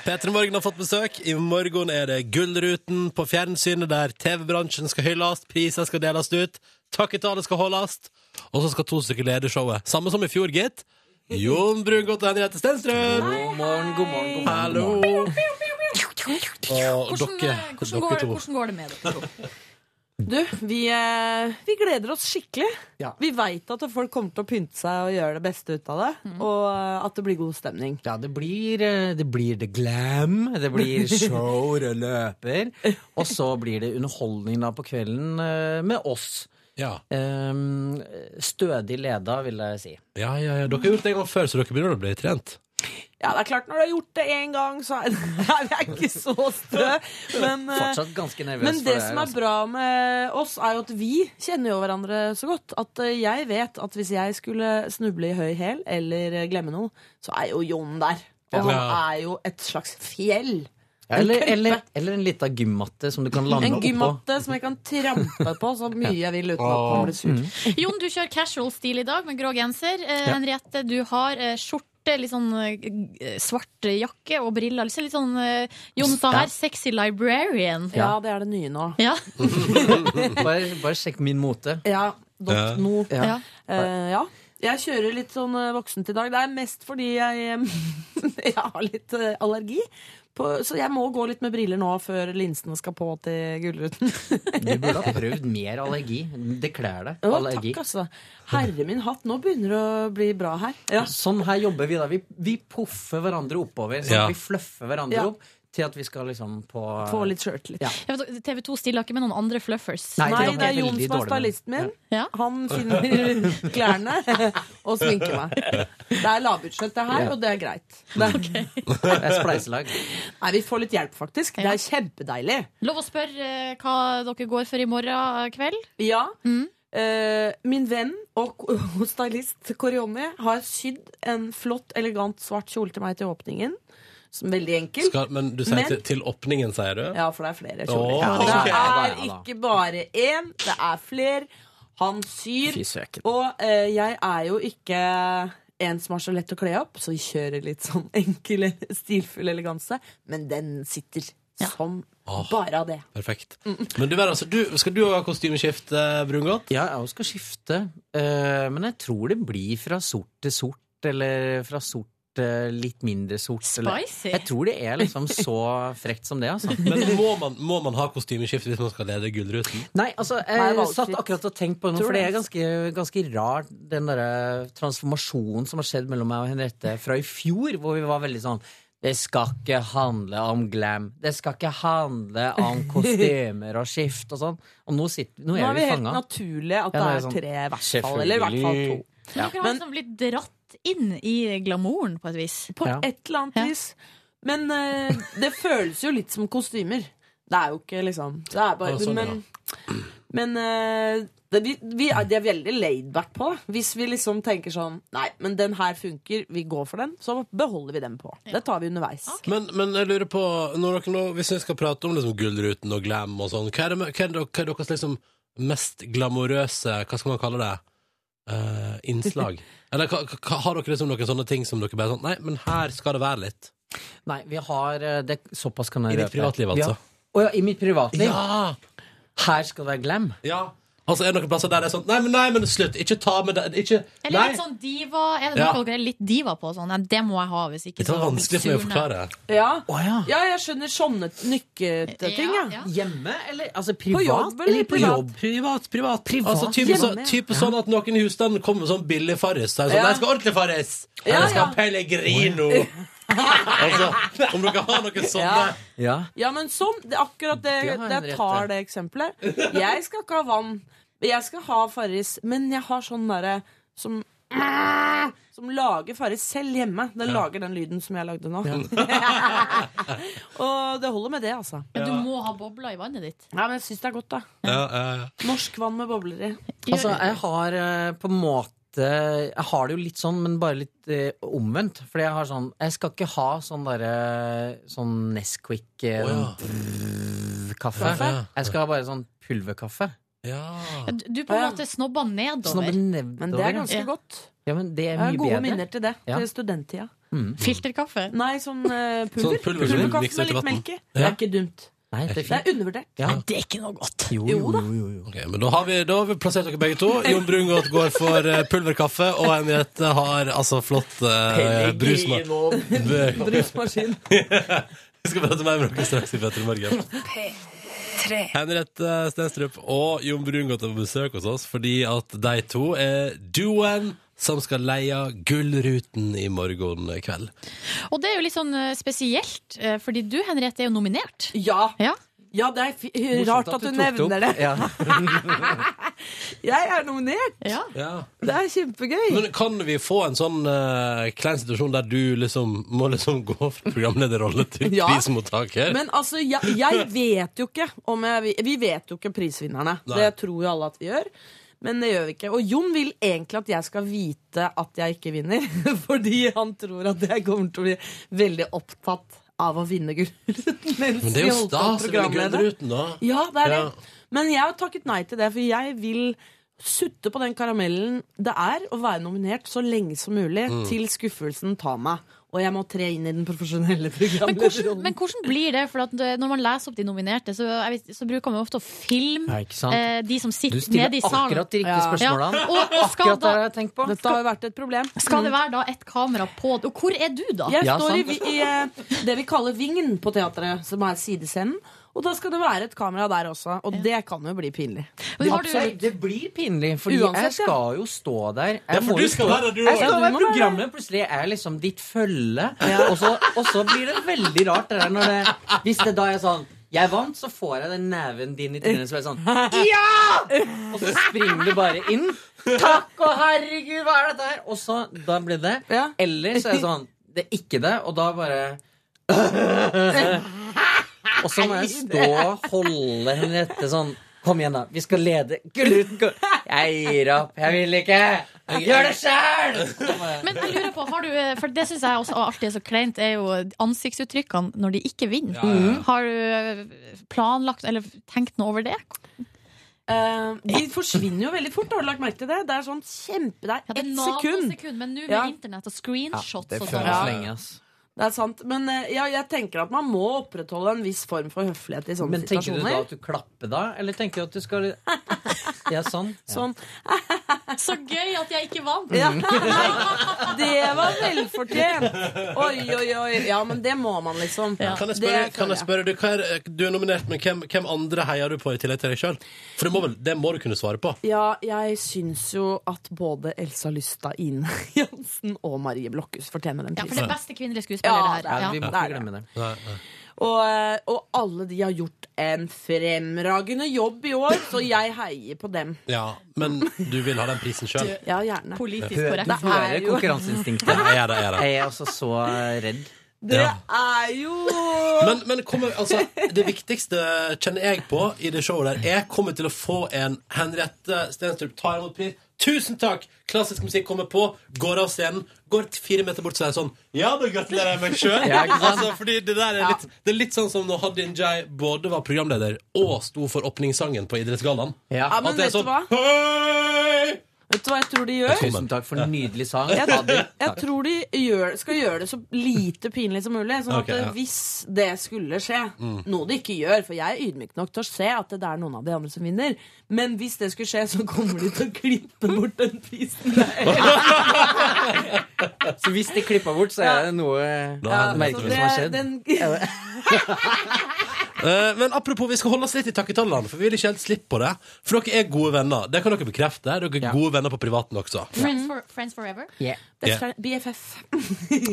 P3 Morgen har fått besøk. I morgen er det Gullruten på fjernsynet, der TV-bransjen skal hylles, priser skal deles ut, takketale skal holdes, og så skal to stykker lede showet. Samme som i fjor, gitt. Jon Brungot og Henriette Stenstrøm!
God morgen, god morgen, god morgen.
Hallo! Og
Hvordan,
dere,
eh, hvordan,
dere
går,
to.
hvordan går det med dere to?
Du, vi, eh, vi gleder oss skikkelig.
Ja.
Vi veit at folk kommer til å pynte seg og gjøre det beste ut av det.
Mhm.
Og eh, at det blir god stemning.
Ja, det blir, eh, det blir the glam, det blir show, rød løper. Og så blir det underholdning da på kvelden eh, med oss.
Ja.
Ehm, Stødig leda, vil jeg si.
Ja, ja, ja. Dere har gjort det en gang før, så dere begynner å bli trent.
Ja, det er klart, når du har gjort det én gang, så er Nei, vi er ikke så stø. Men, eh,
Fortsatt ganske nervøs.
men
for
det som er
altså.
bra med oss, er jo at vi kjenner jo hverandre så godt. At eh, jeg vet at hvis jeg skulle snuble i høy hæl eller eh, glemme noe, så er jo Jon der. Og han
Ja.
er jo et slags fjell.
Ja, eller, eller, eller en lita gymmatte som du kan lande
En
oppå.
gymmatte som jeg kan trampe på så mye jeg vil uten at man blir sur.
Mm.
Jon, du kjører casual stil i dag med grå genser. Eh,
Ja.
Henriette, du har eh, skjorte, litt sånn eh, g- svart jakke og briller. Altså litt sånn eh, Jon sa
Ja.
her, sexy librarian.
Ja, det er det nye nå.
Ja.
Bare, bare sjekk min mote.
Ja, dot no.
Ja.
Ja.
Eh, ja. Jeg kjører litt sånn eh, voksent i dag. Det er mest fordi jeg, eh, jeg har litt eh, allergi. På, så jeg må gå litt med briller nå før linsene skal på til Gullruten.
Du burde ha prøvd mer allergi. Det kler deg.
Å,
allergi.
takk, altså. Herre min hatt, nå begynner det å bli bra her. Ja.
Sånn her jobber vi da. Vi, vi poffer hverandre oppover. Sånn.
Ja.
Vi fluffer hverandre
Ja.
opp til at vi skal liksom på
Få litt sjøltillit.
Ja.
TV 2 stiller ikke med noen andre fluffers.
Nei,
Nei,
det
det er
er
Jon
veldig
som er
dårlig, men-
stylisten min.
Ja.
Han finner klærne og sminker meg. Det er lavbudsjett, det her,
Ja.
og det er greit. Det er,
Det er spleiselag.
Nei, vi får litt hjelp, faktisk. Det er kjempedeilig.
Lov å spørre eh, hva dere går for i morgen kveld?
Ja. Eh, min venn og ko- stylist Korioni har sydd en flott, elegant svart kjole til meg til åpningen. Som er veldig enkel.
Skal, men du sier
Men-
til, til åpningen, sier du?
Ja, for det er flere
Åh,
kjoler.
Ja,
det
det
er-
er ikke bare én, det er flere. Han syr.
Fy søken.
Og eh, jeg er jo ikke en som har så lett å kle opp, så vi kjører litt sånn enkel, stilfull eleganse. Men den sitter som
Åh.
bare av det.
Ah, Perfekt. Men du, Vera, altså, du, skal du ha kostymeskift, eh, Brungot?
Ja, jeg også skal skifte, eh, men jeg tror det blir fra sort til sort, eller fra sort til litt mindre sort. eller-
Spicy.
Jeg tror det er liksom så frekt som det, altså.
Men må man, må man ha kostymeskift hvis man skal lede Gullruten?
Nei, altså,
Nei,
jeg
valgfritt.
satt akkurat og tenkte på noe,
Tror
for
du
det er
det?
ganske, ganske rart, den derre transformasjonen som har skjedd mellom meg og Henriette fra i fjor, hvor vi var veldig sånn det skal ikke handle om glam. Det skal ikke handle om kostymer og skift og sånn. Og nå, sitter, nå
Nå
er
er det
vi
helt
fanga.
naturlig at
Ja,
det
det er
er
sånn,
tre, i hvert fall. Eller i hvert fall to.
selvfølgelig.
Dere har
Men-
liksom blitt dratt inn i glamouren på et vis.
På
Ja.
et eller annet
Ja.
vis. Men eh, det føles jo litt som kostymer. Det er jo ikke liksom det er
Ja,
bare,
sånn,
Men Men eh, det, vi, vi er, de er veldig laidback på det. Hvis vi liksom tenker sånn Nei, men den her funker, vi går for den, så beholder vi den på. Det tar vi underveis.
Men, men jeg lurer på, når dere nå, hvis vi skal prate om liksom Gullruten og glam og sånn, hva er, det, med- hva er, det, hva er deres liksom mest glamorøse, hva skal man kalle det, eh, innslag? Eller hva, hva, har dere liksom noen sånne ting som dere bare sånn, nei, men her skal det være litt?
Nei, vi har eh, det, Såpass kan jeg
I ditt
røpe.
privatliv,
Vi har-
altså.
Å ja, i mitt privatliv?
Ja!
Her skal det være glam.
Ja! Altså, er det noen plasser der det er sånn, nei, men, nei, men slutt, ikke ta med det, ikke,
Eller
nei.
litt sånn diva Er det noe
Ja.
dere er litt diva på? Sånn? Nei, det må jeg ha, hvis ikke
Det er vanskelig for meg å
surner jeg.
forklare.
Ja,
Å ja.
ja jeg skjønner sånne nykkete ting, ja.
Ja, ja.
Hjemme, eller altså privat?
jobb, eller
eller på
privat?
jobb?
Privat, privat.
Privat.
Altså, type, så,
Hjemme, ja.
type sånn at noen i husstanden kommer med sånn billig farris. Så er det sånn,
Ja.
Nei, jeg skal ha ordentlig farris! Eller jeg skal ha pellegrino! altså, om dere har noen sånne
Ja.
Ja.
Ja, men sånn, det, er akkurat det,
Det har
det jeg
Henriette.
tar det eksempelet. Jeg skal ikke ha vann, men jeg skal ha Farris. Men jeg har sånn derre som som lager Farris selv hjemme. Den lager den lyden som jeg lagde nå. Og det holder med det, altså.
Men du må ha bobler i vannet ditt.
Nei, men jeg syns det er godt, da.
Ja, ja, ja.
Norsk vann med bobler i.
Altså, jeg har eh, på en måte Jeg har det jo litt sånn, men bare litt eh, omvendt. Fordi jeg har sånn Jeg skal ikke ha sånn derre Sånn Nesquik eh,
Å, ja.
sånn kaffe.
Kaffe, ja.
Jeg skal ha bare sånn pulverkaffe.
Ja.
Du du på en
Ja.
måte snobba nedover.
Snobber
Men det er
nedover. ja.
ganske
Ja.
godt.
Ja, men det er
Jeg har
mye
gode
bedre.
minner til det.
Ja.
Til studenttida.
Filterkaffe.
Mm.
Nei, sånn eh, pulver.
Sånn pulver som du
Pulverkaffe
mikser
med
til
litt
vann.
melk i. Det
Ja.
er ikke dumt.
Nei, det er
Det
fint.
er undervurdert.
Ja.
Det er ikke noe godt.
Jo,
Jo da.
jo, jo.
Ok, men da har, vi, da har vi plassert dere begge to. Jon Brungot går for eh, pulverkaffe, og Henriette har altså flott eh, brusma- Vi
Brusmaskin.
skal prate mer med dere straks i Petter Morgen. Henriette Stenstrup og Jon Brungot er på besøk hos oss fordi at de to er duoen som skal leie Gullruten i morgen kveld.
Og det er jo litt sånn eh, spesielt, eh, fordi du, Henriette, er jo nominert.
Ja.
Ja.
Ja, det er fi rart at du, nevner det.
Ja.
Jeg er nominert!
Ja.
Ja.
Det er kjempegøy.
Men kan vi få en sånn eh, klein situasjon der du liksom må liksom gå fra programlederrolle til
Ja.
prismottaker?
Men altså, jeg, jeg vet jo ikke om jeg, Vi vet jo ikke prisvinnerne.
Nei.
Det tror jo alle at vi gjør. Men det gjør vi ikke. Og Jon vil egentlig at jeg skal vite at jeg ikke vinner. Fordi han tror at jeg kommer til å bli veldig opptatt av å vinne Gullruten.
Men det er jo stas å vinne Gullruten, da.
Ja, det er
Ja.
det. Men jeg har takket nei til det, for jeg vil sutte på den karamellen det er å være nominert så lenge som mulig,
Mm.
til skuffelsen tar meg. Og jeg må tre inn i den profesjonelle
Men hvordan, men
programlederrollen.
hvordan blir det? For at eh, når man leser opp de nominerte, så, jeg vet, så bruker man jo ofte å filme
Ja, ikke sant?
eh, de som
Du
sitter
stiller
nede i salen.
akkurat de riktige
Ja.
spørsmålene.
Ja, og- og skal
Akkurat det
da-
har jeg tenkt på.
Dette har jo vært et problem.
Skal det være da et kamera på Og hvor er du, da?
Jeg
Ja,
står i,
sant.
vi- i eh, det vi kaller vingen på teatret, som er sidescenen. Og da skal det være et kamera der også, og det kan jo bli pinlig.
Men har
Absolutt.
du,
Det blir pinlig, fordi
Uansett, ja.
jeg skal jo stå der. Jeg
Ja, for
må
du
jo
skal
stå-
være der, du
Jeg
også.
skal
Ja, du
være
må være
programmet. Plutselig er jeg liksom ditt følge. Og, så, og så blir det veldig rart det der når det Hvis det da er sånn jeg vant, så får jeg den neven din i trynet som er sånn Ja! Og så springer du bare inn. Takk og herregud, hva er dette her? Og så Da blir det.
Ja.
Eller så er det sånn Det er ikke det, og da bare og så må jeg stå og holde Henriette sånn Kom igjen, da. Vi skal lede. Gullruten går. Jeg gir opp. Jeg vil ikke. Gjør det sjæl!
men jeg lurer på, har du, eh, for det syns jeg også alltid er så kleint, er jo ansiktsuttrykkene når de ikke vinner. Har du eh, planlagt eller tenkt noe over det?
Eh, de forsvinner jo veldig fort, har du lagt merke til det? Det er sånn kjempe... Det
Ja, det er
er ett sekund.
nanosekund, men nå med
Ja.
internett og screenshots
Det
og sånn.
føles lenge, ass.
Det er sant, men eh, ja, jeg tenker at man må opprettholde en viss form for høflighet i sånne
Men tenker du da
situasjoner.
at du klapper da? Eller tenker du at du skal Ja, sånn.
Sånn.
Så gøy at jeg ikke vant!
Ja.
Mm.
Nei, det var velfortjent! Oi, oi, oi. Ja, men det må man liksom.
Kan jeg
Det
spørre,
føler
kan jeg spørre du, hva er, du er nominert, men hvem, hvem andre heier du på i tillegg til deg sjøl? For det må, vel, det må du kunne svare på.
Ja, jeg syns jo at både Elsa Lystad, Ine Jansen og Marie Blokhus fortjener den
Ja, for det
prisen.
er beste kvinnelige
Ja,
skuespillere
det
det her.
Ja, vi
Ja.
må ikke glemme det.
Og, eh, og alle de har gjort en fremragende jobb i år, så jeg heier på dem.
Ja, Men du vil ha den prisen sjøl?
Ja, gjerne.
Politisk
Du
korrekt.
Det er
hører
jo-
konkurranseinstinktet.
Jeg er det, jeg er det.
Jeg er også så redd.
Det
Ja.
er jo
Men, men kommer, altså, det viktigste kjenner jeg på i det showet der. Jeg kommer til å få en Henriette Stenstrup tar imot pris. Tusen takk! Klassisk musikk kommer på, går av scenen, går til fire meter bort så er det sånn Ja, da gratulerer jeg meg sjøl!
Ja, ikke sant?
altså, fordi det der er litt Det er litt sånn som når Hadin Jai både var programleder og sto for åpningssangen på Idrettsgallaen.
Ja.
Ja, men
At det er
vet du
sånn
hva?
Hei!
Vet du hva jeg tror de gjør?
Tusen takk for en nydelig sang.
Jeg,
Adil,
jeg
takk.
tror de gjør, skal gjøre det så lite pinlig som mulig. Sånn at
Ok, ja. Mm.
hvis det skulle skje, noe det ikke gjør, for jeg er ydmyk nok til å se at det er noen av de andre som vinner, men hvis det skulle skje, så kommer de til å klippe bort den prisen der.
Så hvis de klippa bort, så er det noe
Da er det
merkelig som har
Så det-
skjedd.
den-
Eh, Men apropos, vi skal holde oss litt i takketallene, for vi vil ikke helt slippe på det. For dere er gode venner. Det kan dere bekrefte. Dere er
Ja.
gode venner på privaten også.
Friends, for, friends forever.
Best friend- BFF.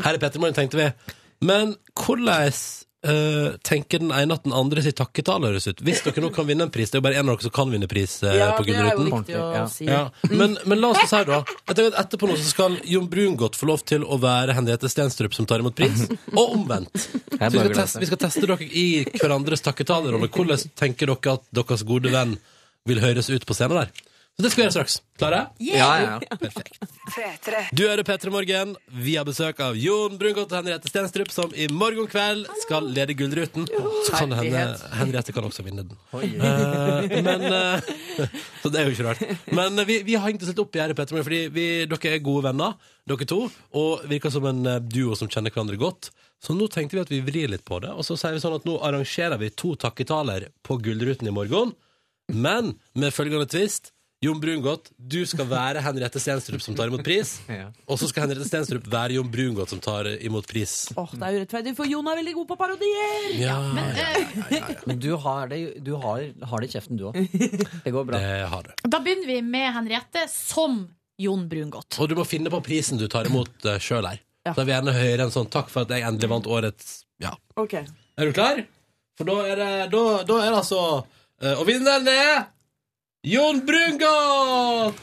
Her i Pettermorgen, tenkte vi. Men hvordan eh, tenker den ene at den andre sitt takketall høres ut? Hvis dere nå kan vinne en pris, det er jo bare en av dere som kan vinne pris eh,
Ja,
på
det er jo
Gullruten.
viktig å
Ja.
si.
Ja. Men, men la oss nå si da jeg tenker at Etterpå nå så skal Jon Brungot få lov til å være Henriette Stenstrup som tar imot pris, og omvendt. Så vi skal, teste, vi skal teste dere i hverandres takketaler over hvordan tenker dere at deres gode venn vil høres ut på scenen der. Så det skal vi gjøre straks. Klare?
Ja, ja, ja.
Du hører P3 Morgen. Vi har besøk av Jon Brungot og Henriette Stenstrup, som i morgen kveld skal lede Gullruten. Så kan det hende
Herlighet.
Henriette kan også vinne den. Eh, men eh, Så det er jo ikke rart. Men eh, vi, vi har hengt oss litt opp i her, Petter, fordi vi, dere er gode venner, dere to. Og virker som en eh, duo som kjenner hverandre godt. Så nå tenkte vi at vi vrir litt på det. Og så sier vi sånn at nå arrangerer vi to takketaler på Gullruten i morgen. Men med følgende twist. Jon Brungot, du skal være Henriette Stenstrup som tar imot pris.
Ja.
Og så skal Henriette Stenstrup være Jon Brungot som tar imot pris.
Åh, det er urettferdig, for Jon er veldig god på parodier!
Ja,
Men du har det, du har, har det i kjeften, du òg. Det går bra.
det har du.
Da begynner vi med Henriette som Jon Brungot.
Og du må finne på prisen du tar imot uh, sjøl her.
Ja.
Så jeg vil gjerne høre en sånn takk for at jeg endelig vant årets Ja.
Ok.
Er du klar? For da er det, da, da er det altså eh, Og vinneren er Jon Brungot!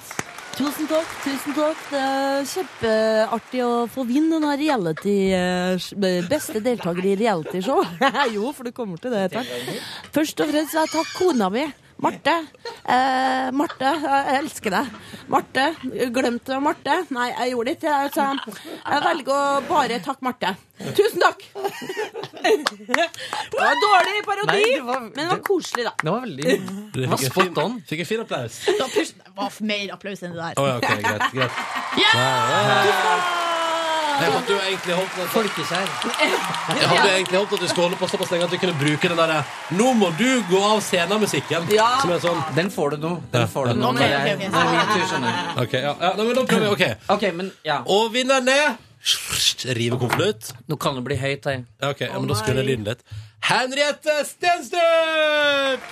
Tusen takk, tusen takk. Det er kjempeartig å få vinne denne reality eh, s- Beste deltaker i realityshow. jo, for du kommer til det etter hvert. Først og fremst vil jeg takke kona mi. Marte. Eh, Marte, jeg elsker deg. Marte. Glemte jeg Marte? Nei, jeg gjorde det ikke. Jeg, sa, jeg velger å bare takke Marte. Tusen takk! Det var dårlig parodi,
Nei, det var-
men det var koselig, da.
Det var veldig det var spot on.
Fikk en fin applaus.
Da pus- Det var mer applaus enn det der.
Å ja, ok, greit. greit.
Ja!
Jeg hadde jo egentlig håpet at
Folkeskjær.
Jeg hadde egentlig håpet at du skulle holde på såpass lenge at du kunne bruke den derre 'Nå må du gå av scenen'-musikken.
Ja.
Som er sånn
Den får du nå. Den får du nå. når
Ok, ok,
jeg-
ok.
Når min tur, skjønner du.
Ok, ja, ja nei, men da prøver vi. ok
Ok, men ja.
Og vinneren er Rive konvolutt.
Nå kan det bli høyt her.
Ja, ok, ja, men da skulle jeg lyden litt. Henriette Stenstrup!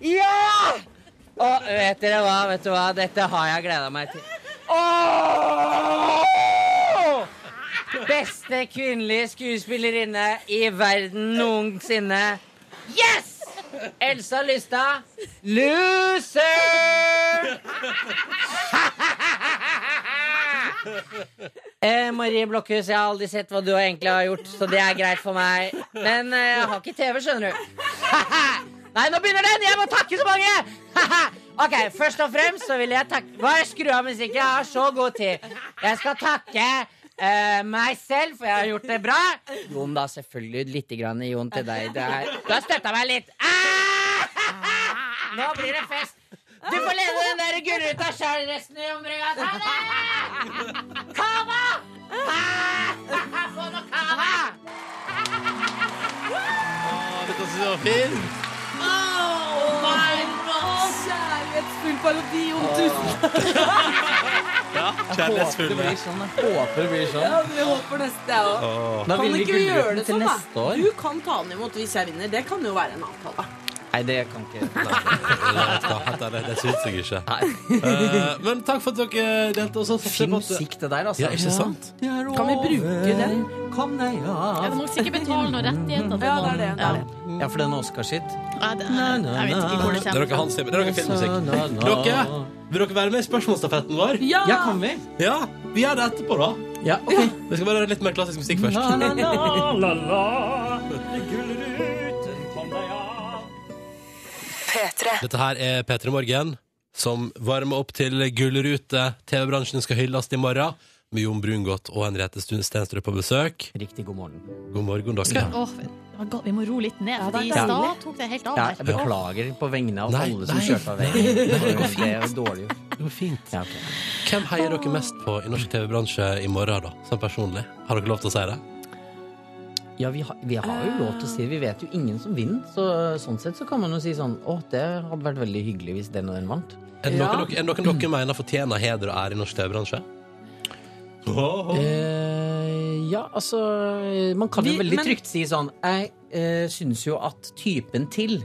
Ja! Og vet dere hva, vet du hva? Dette har jeg gleda meg til. Åh! Beste kvinnelige skuespillerinne i verden noensinne. Yes! Elsa Lystad. Loser! Eh, Marie Blokhus, jeg har aldri sett hva du egentlig har gjort, så det er greit for meg. Men eh, jeg har ikke TV, skjønner du. Nei, nå begynner den! Jeg må takke så mange! ok, Først og fremst så vil jeg takke Bare skru av musikken. Jeg har så god tid. Jeg skal takke eh, meg selv, for jeg har gjort det bra. Jon, da. Selvfølgelig lite grann Jon til deg. Det er, du har støtta meg litt. Ah! Nå blir det fest. Du får lede den der gullruta sjøl resten av omringa. Ta det! Kava! Ah! Få noe kava!
Ah, dette synes jeg var fint.
Kjærlighetsfull parodi om tusen
Kjærlighetsfull.
sånn. Håper det blir sånn.
Ja, vi håper neste, jeg òg.
Da
Kan
vinner
ikke vi gjøre
gullruten
det
til
sånn,
neste
da?
år.
Du kan ta den imot hvis jeg vinner. Det kan jo være en avtale.
Nei, det kan ikke
Helt ærlig, det syns jeg ikke. Eh, men takk for at dere delte. Og så satser jeg
Fin
på at-
musikk, det Eh, der, altså.
Ja, ikke sant?
Kan vi bruke den?
Kom deg
Jeg
av.
må sikkert betale noen rettigheter. for
Ja, det er det.
noen.
det, er det.
Ja, for den Oscar sitt.
Ja. Nei, det- Jeg vet ikke hvor det
Det er
kommer
dere
fra.
Hans Zimmer. Det er dere filmmusikk. Dere, Vil dere være med i spørsmålstafetten vår?
Ja!
Ja, kan vi?
Ja, vi gjør det etterpå, da.
Ja, ok.
Det skal være litt mer klassisk musikk først. Dette her er P3 Morgen, som varmer opp til Gullrute. TV-bransjen skal hylles i morgen. Med Jon Brungot og Henriette Stun- Stenstrøm på besøk.
Riktig god morgen.
God morgen, dere.
Skal, åh, vi må roe litt ned, for
det
i
er
stad
deilig.
tok det helt av
Ja, jeg
der.
beklager på vegne av
Nei,
alle som
nei,
kjørte av
nei,
veien.
nei, det går
Det er jo dårlig. gjort.
Det var fint.
Ja, ok.
Hvem heier dere mest på i norsk TV-bransje i morgen, da? Sånn personlig. Har dere lov til å si det?
Ja, vi, har, vi har jo lov til å si det. Vi vet jo ingen som vinner. Så, sånn sett så kan man jo si sånn Å, det hadde vært veldig hyggelig hvis den og den vant.
Er det
Ja.
noen, dere- er det noen dere mener fortjener heder og ære i norsk TV-bransje? Åh, åh.
Eh, ja, altså Man kan
Vi-
jo veldig
men-
trygt si sånn Jeg eh, syns jo at typen til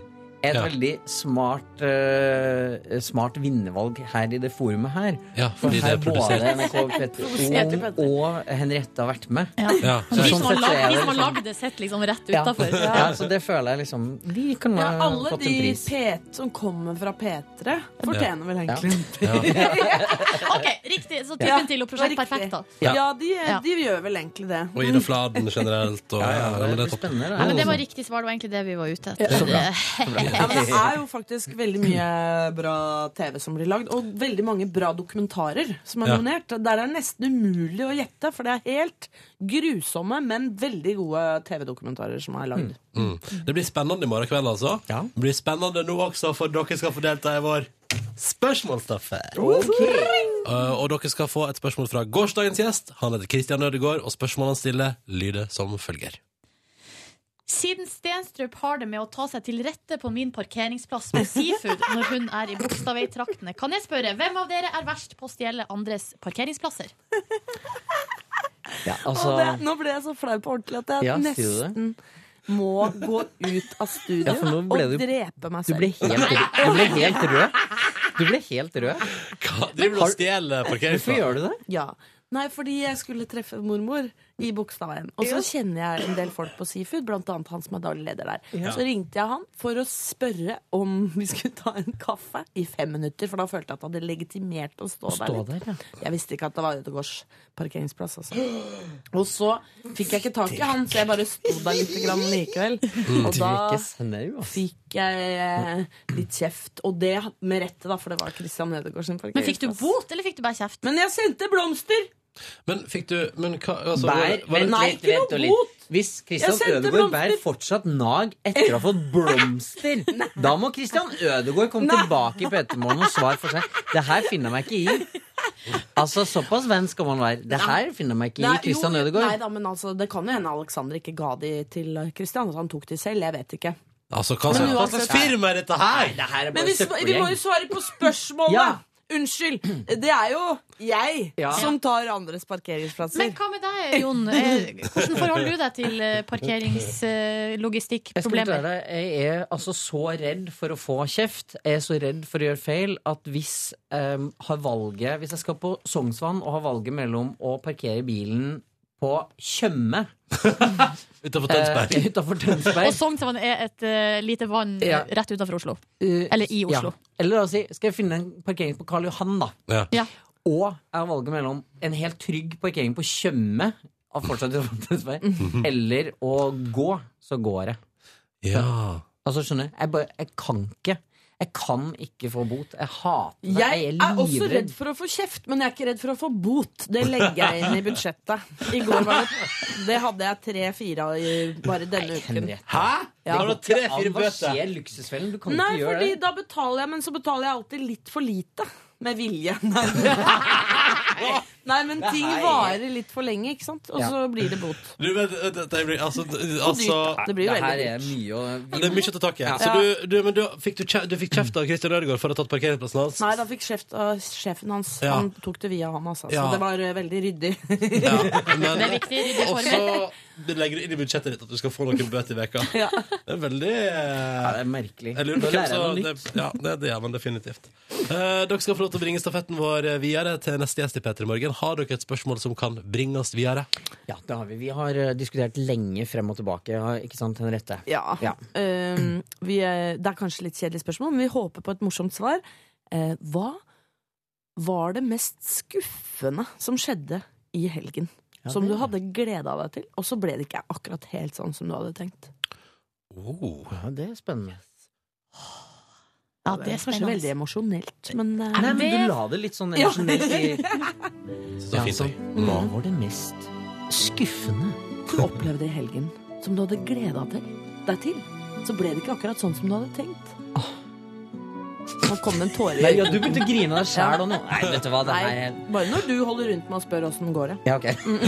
er et
Ja.
veldig smart eh, Smart vinnervalg her i det forumet her.
Ja,
For
fordi det
her
er
både
produsert.
NRK Petter Ung og Henriette har vært med.
Ja.
Ja,
Så de
sånn
som har
sett så er det
lag- de som har
liksom-
lagd det, sitter liksom rett
Ja.
utafor.
Ja, så det føler jeg liksom De kunne
Ja,
ha
alle
fått en
de
pris.
P- som kommer fra P3, fortjener vel egentlig en pris.
ja.
Ok, riktig. Så typen
Ja,
til og
det var
Prosjekt
riktig.
Perfekt, da.
Ja.
Ja, de, de gjør vel egentlig det.
Og Ida Fladen generelt. Og,
Ja, ja,
ja,
det
men det er
blir
topp.
spennende.
Nei, men
det.
det var riktig svar. Det var egentlig det vi var ute etter.
Så bra.
Ja, men det er jo faktisk veldig mye bra TV som blir lagd, og veldig mange bra dokumentarer som er
Ja.
nominert. Der er det nesten umulig å gjette, for det er helt grusomme, men veldig gode TV-dokumentarer som er lagd.
Mm. Det blir spennende i morgen kveld, altså.
Ja.
Det blir spennende nå også, for dere skal få delta i vår spørsmålsstafett. Uh, og dere skal få et spørsmål fra gårsdagens gjest. Han heter Christian Ødegaard, og spørsmålet han stiller, lyder som følger.
Siden Stenstrup har det med å ta seg til rette på min parkeringsplass med seafood når hun er i Bogstadveitraktene, kan jeg spørre hvem av dere er verst på å stjele andres parkeringsplasser?
Ja, altså,
Å, det, nå ble jeg så flau på ordentlig at jeg
Ja, sier
nesten må gå ut av studio
Ja, for nå ble
og
du-
drepe meg
du
selv.
ble helt, du ble helt rød. Du ble helt rød.
Hva driver du og stjeler
Hvorfor
parkeringsplass?
gjør du det?
Ja. Nei, fordi jeg skulle treffe mormor i Bogstadveien. Og så kjenner jeg en del folk på Seafood, blant annet han som er daglig leder der. Så ringte jeg han for å spørre om vi skulle ta en kaffe i fem minutter, for da følte jeg at han hadde legitimert å stå,
Stå
der. litt.
der, ja.
Jeg visste ikke at det var Ødegårds parkeringsplass, altså. Og så fikk jeg ikke tak i han, så jeg bare sto der litt grann likevel. Og da
Ikke snau, altså.
fikk jeg eh, litt kjeft. Og det med rette, da, for det var Christian Ødegaard sin
Men fikk du
parkeringsplass.
bot, eller fikk du bare kjeft?
Men jeg sendte blomster!
Men fikk du men hva, altså,
Bær,
var det-
vent,
Nei,
vent,
ikke
vent
noe
og litt.
bot.
Hvis
Jeg
Christian
sendte
Ødegaard
blomster.
bærer fortsatt nag etter å ha fått blomster, da må Christian Ødegaard komme tilbake i Petermorgen og svare for seg. Det her finner jeg meg ikke i. Altså, såpass venn skal man være. Det her finner jeg meg ikke i,
Nei,
Christian
jo, Nei
Ødegaard.
da, men altså, det kan jo hende Alexander ikke ga de til Christian. At han tok de selv. Jeg vet ikke.
altså, hva, slags- hva slags firma er dette her?
Det her er
Men
bare
vi, sv- vi må jo
søppelgjeng.
svare på spørsmålet!
Ja.
Unnskyld. Det er jo jeg
Ja.
som tar andres parkeringsplasser.
Men hva med deg, Jon? Eh, Hvordan forholder du deg til eh,
Jeg skal
parkeringslogistikkproblemer?
fortelle deg, jeg er altså så redd for å få kjeft. Jeg er så redd for å gjøre feil at hvis, em, har valget, hvis jeg skal på Sognsvann og har valget mellom å parkere bilen på Tjøme
Utenfor Tønsberg.
eh, utafor Tønsberg
Og sånn Sognsvann er et eh, lite vann
Ja.
rett utafor Oslo.
eh,
Eller i Oslo.
Ja. Eller da si, skal jeg finne en parkering på Karl Johan, da?
Ja.
Ja.
Og jeg har valget mellom en helt trygg parkering på Tjøme av fortsatt utenfor
Mhm.
Tønsberg, eller å gå, så går jeg.
ja.
Altså, skjønner du? Jeg, bare, jeg kan ikke. Jeg kan ikke få bot. Jeg hater det.
jeg
Jeg
er også redd
livredd.
for å få kjeft, men jeg er ikke redd for å få bot. Det legger jeg inn i budsjettet. I går var det Det hadde jeg tre-fire bare denne uken.
Henriette.
Hæ?
Ja.
Har du tre-fire
Hva
bøter?
skjer, Luksusfellen? Du kan
Nei,
ikke gjøre
fordi
det.
da betaler jeg, men så betaler jeg alltid litt for lite. Med vilje. Nei, Nei men ting varer litt for lenge, ikke sant? Og
Ja.
så blir det bot.
Du, vent, vent, vent, jeg blir- altså, altså
Det blir jo
det her
veldig
er mye å
Ja, Det er mye å ta tak i. Så du, du, men du, fikk du, kje- du fikk kjeft av Christian Ødegaard for å ha tatt parkeringsplassen hans?
Nei, da fikk sjef, av sjefen hans
Ja.
Han tok det via han, altså.
Ja.
Så det var eh, veldig ryddig.
Ja, men,
Det er viktig i ryddige
Og
former.
så legger du inn i budsjettet ditt at du skal få noen bøter i veka. Det er veldig eh,
Ja, det er merkelig.
jeg lurer
Da
på hvem
lærer jeg
som
noe
det,
nytt.
ja, det, det gjør man definitivt. Eh, dere skal få lov til å bringe stafetten vår eh, videre til neste gjest i P3 Morgen. Har dere et spørsmål som kan bringes videre?
Ja, det har vi. Vi har eh, diskutert lenge frem og tilbake, ja, ikke sant, Henriette?
Ja.
Ja.
Ehm, vi, eh, det er kanskje litt kjedelig spørsmål, men vi håper på et morsomt svar. Eh, hva
var det mest skuffende som skjedde i helgen? som
det-
du hadde gleda deg til, og så ble det ikke akkurat helt sånn som du hadde tenkt.
Oh.
Ja, det er spennende.
Ja, det er
Kanskje veldig
spennende.
emosjonelt, men eh,
Nei, men
det-
du la det litt sånn emosjonelt i
Synes det
ja,
var fint,
sånn,
jeg.
Hva
Mm.
var det mest skuffende?
du opplevde i helgen som du hadde gleda til, deg til, så ble det ikke akkurat sånn som du hadde tenkt. Nå kom det en tåre.
Nei, ja, du begynte å grine av deg sjæl og nå. Nei, vet du hva, det
Nei,
er
bare når du holder rundt meg og spør åssen går det.
Ja, ok.
Mm.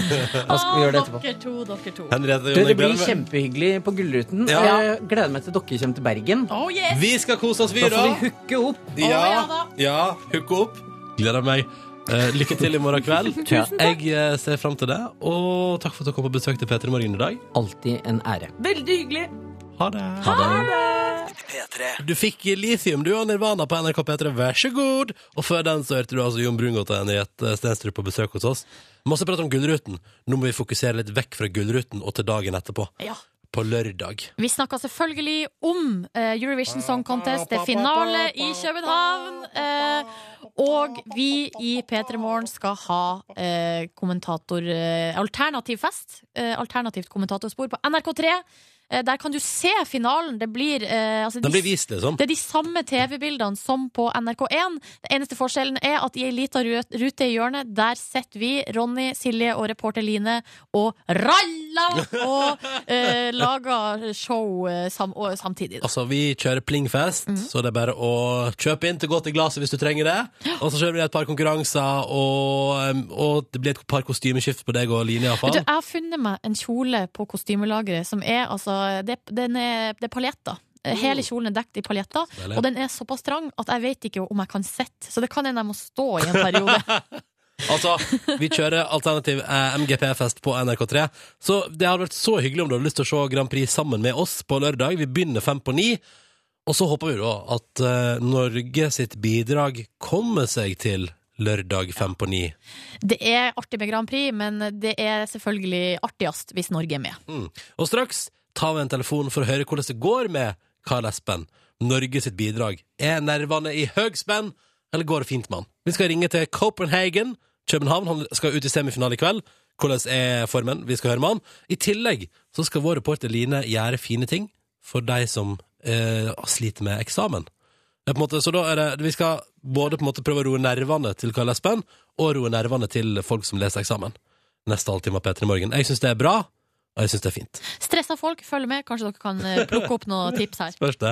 Da skal vi gjøre det etterpå.
dere to, dere to.
Henriette,
Du,
Jon,
det
jeg
blir
gleder meg.
kjempehyggelig på Gullruten.
Ja.
Jeg gleder meg til dere kommer til Bergen.
Oh yes!
Vi skal kose oss, vi,
Da
da.
får vi hooke opp.
ja
Ja,
da.
ja hook opp. Gleder meg. Eh, lykke til i morgen kveld.
Tusen
Jeg eh, ser fram til det. Og takk for at dere kom på besøk til P3 Morgen i dag.
Alltid en ære.
Veldig hyggelig.
Ha det. Du fikk Lithium, du, og Nirvana på NRK P3. Vær så god! Og før den så hørte du altså Jon Brungot og Henriette Stenstrup på besøk hos oss. Masse prat om Gullruten. Nå må vi fokusere litt vekk fra Gullruten og til dagen etterpå.
Ja.
På lørdag.
Vi snakka selvfølgelig om eh, Eurovision Song Contest. Det er finale i København. eh, og vi i P3 Morgen skal ha eh, kommentator eh, alternativ fest. eh, alternativt kommentatorspor på NRK3. Eh, der kan du se finalen. Det blir, eh, altså,
Den
de-
blir vist, liksom.
det er de samme TV-bildene som på NRK1. Den eneste forskjellen er at i ei lita ru- rute i hjørnet, der sitter vi, Ronny, Silje og reporter Line, og raller og eh, lager show eh, sam og, samtidig. Da.
Altså, vi kjører plingfest, så det er bare å kjøpe inn til godt i glasset hvis du trenger det. Og så kjører vi et par konkurranser, og, um, og det blir et par kostymeskift på deg og Line,
Vet du,
iallfall.
jeg har funnet meg en kjole på kostymelageret som er altså Det, den er, det er paljetter. Hele kjolen er dekt i paljetter,
Deilig.
og den er såpass trang at jeg vet ikke om jeg kan sitte. Så det kan hende jeg må stå i en periode.
Altså, vi kjører alternativ eh, MGP-fest på NRK3. Så det hadde vært så hyggelig om du hadde lyst til å se Grand Prix sammen med oss på lørdag. Vi begynner fem på ni. Og så håper vi da at eh, Norge sitt bidrag kommer seg til lørdag fem på ni.
Det er artig med Grand Prix, men det er selvfølgelig artigst hvis Norge er med.
Mm. Og straks tar vi en telefon for å høre hvordan det går med Karl Espen. Norge sitt bidrag. Er nervene i høgspenn, eller går det fint med han? Vi skal ringe til Copenhagen, København. Han skal ut i semifinale i kveld. Hvordan er formen? Vi skal høre med han. I tillegg så skal vår reporter Line gjøre fine ting for de som eh, sliter med eksamen. Det er på en måte, så da er det, vi skal både på en måte prøve å roe nervene til Karl Espen, og roe nervene til folk som leser eksamen. Neste halvtime av P3 Morgen. Jeg syns det er bra, og jeg syns det er fint.
Stressa folk, følg med. Kanskje dere kan eh, plukke opp noen tips her.
Spørs det.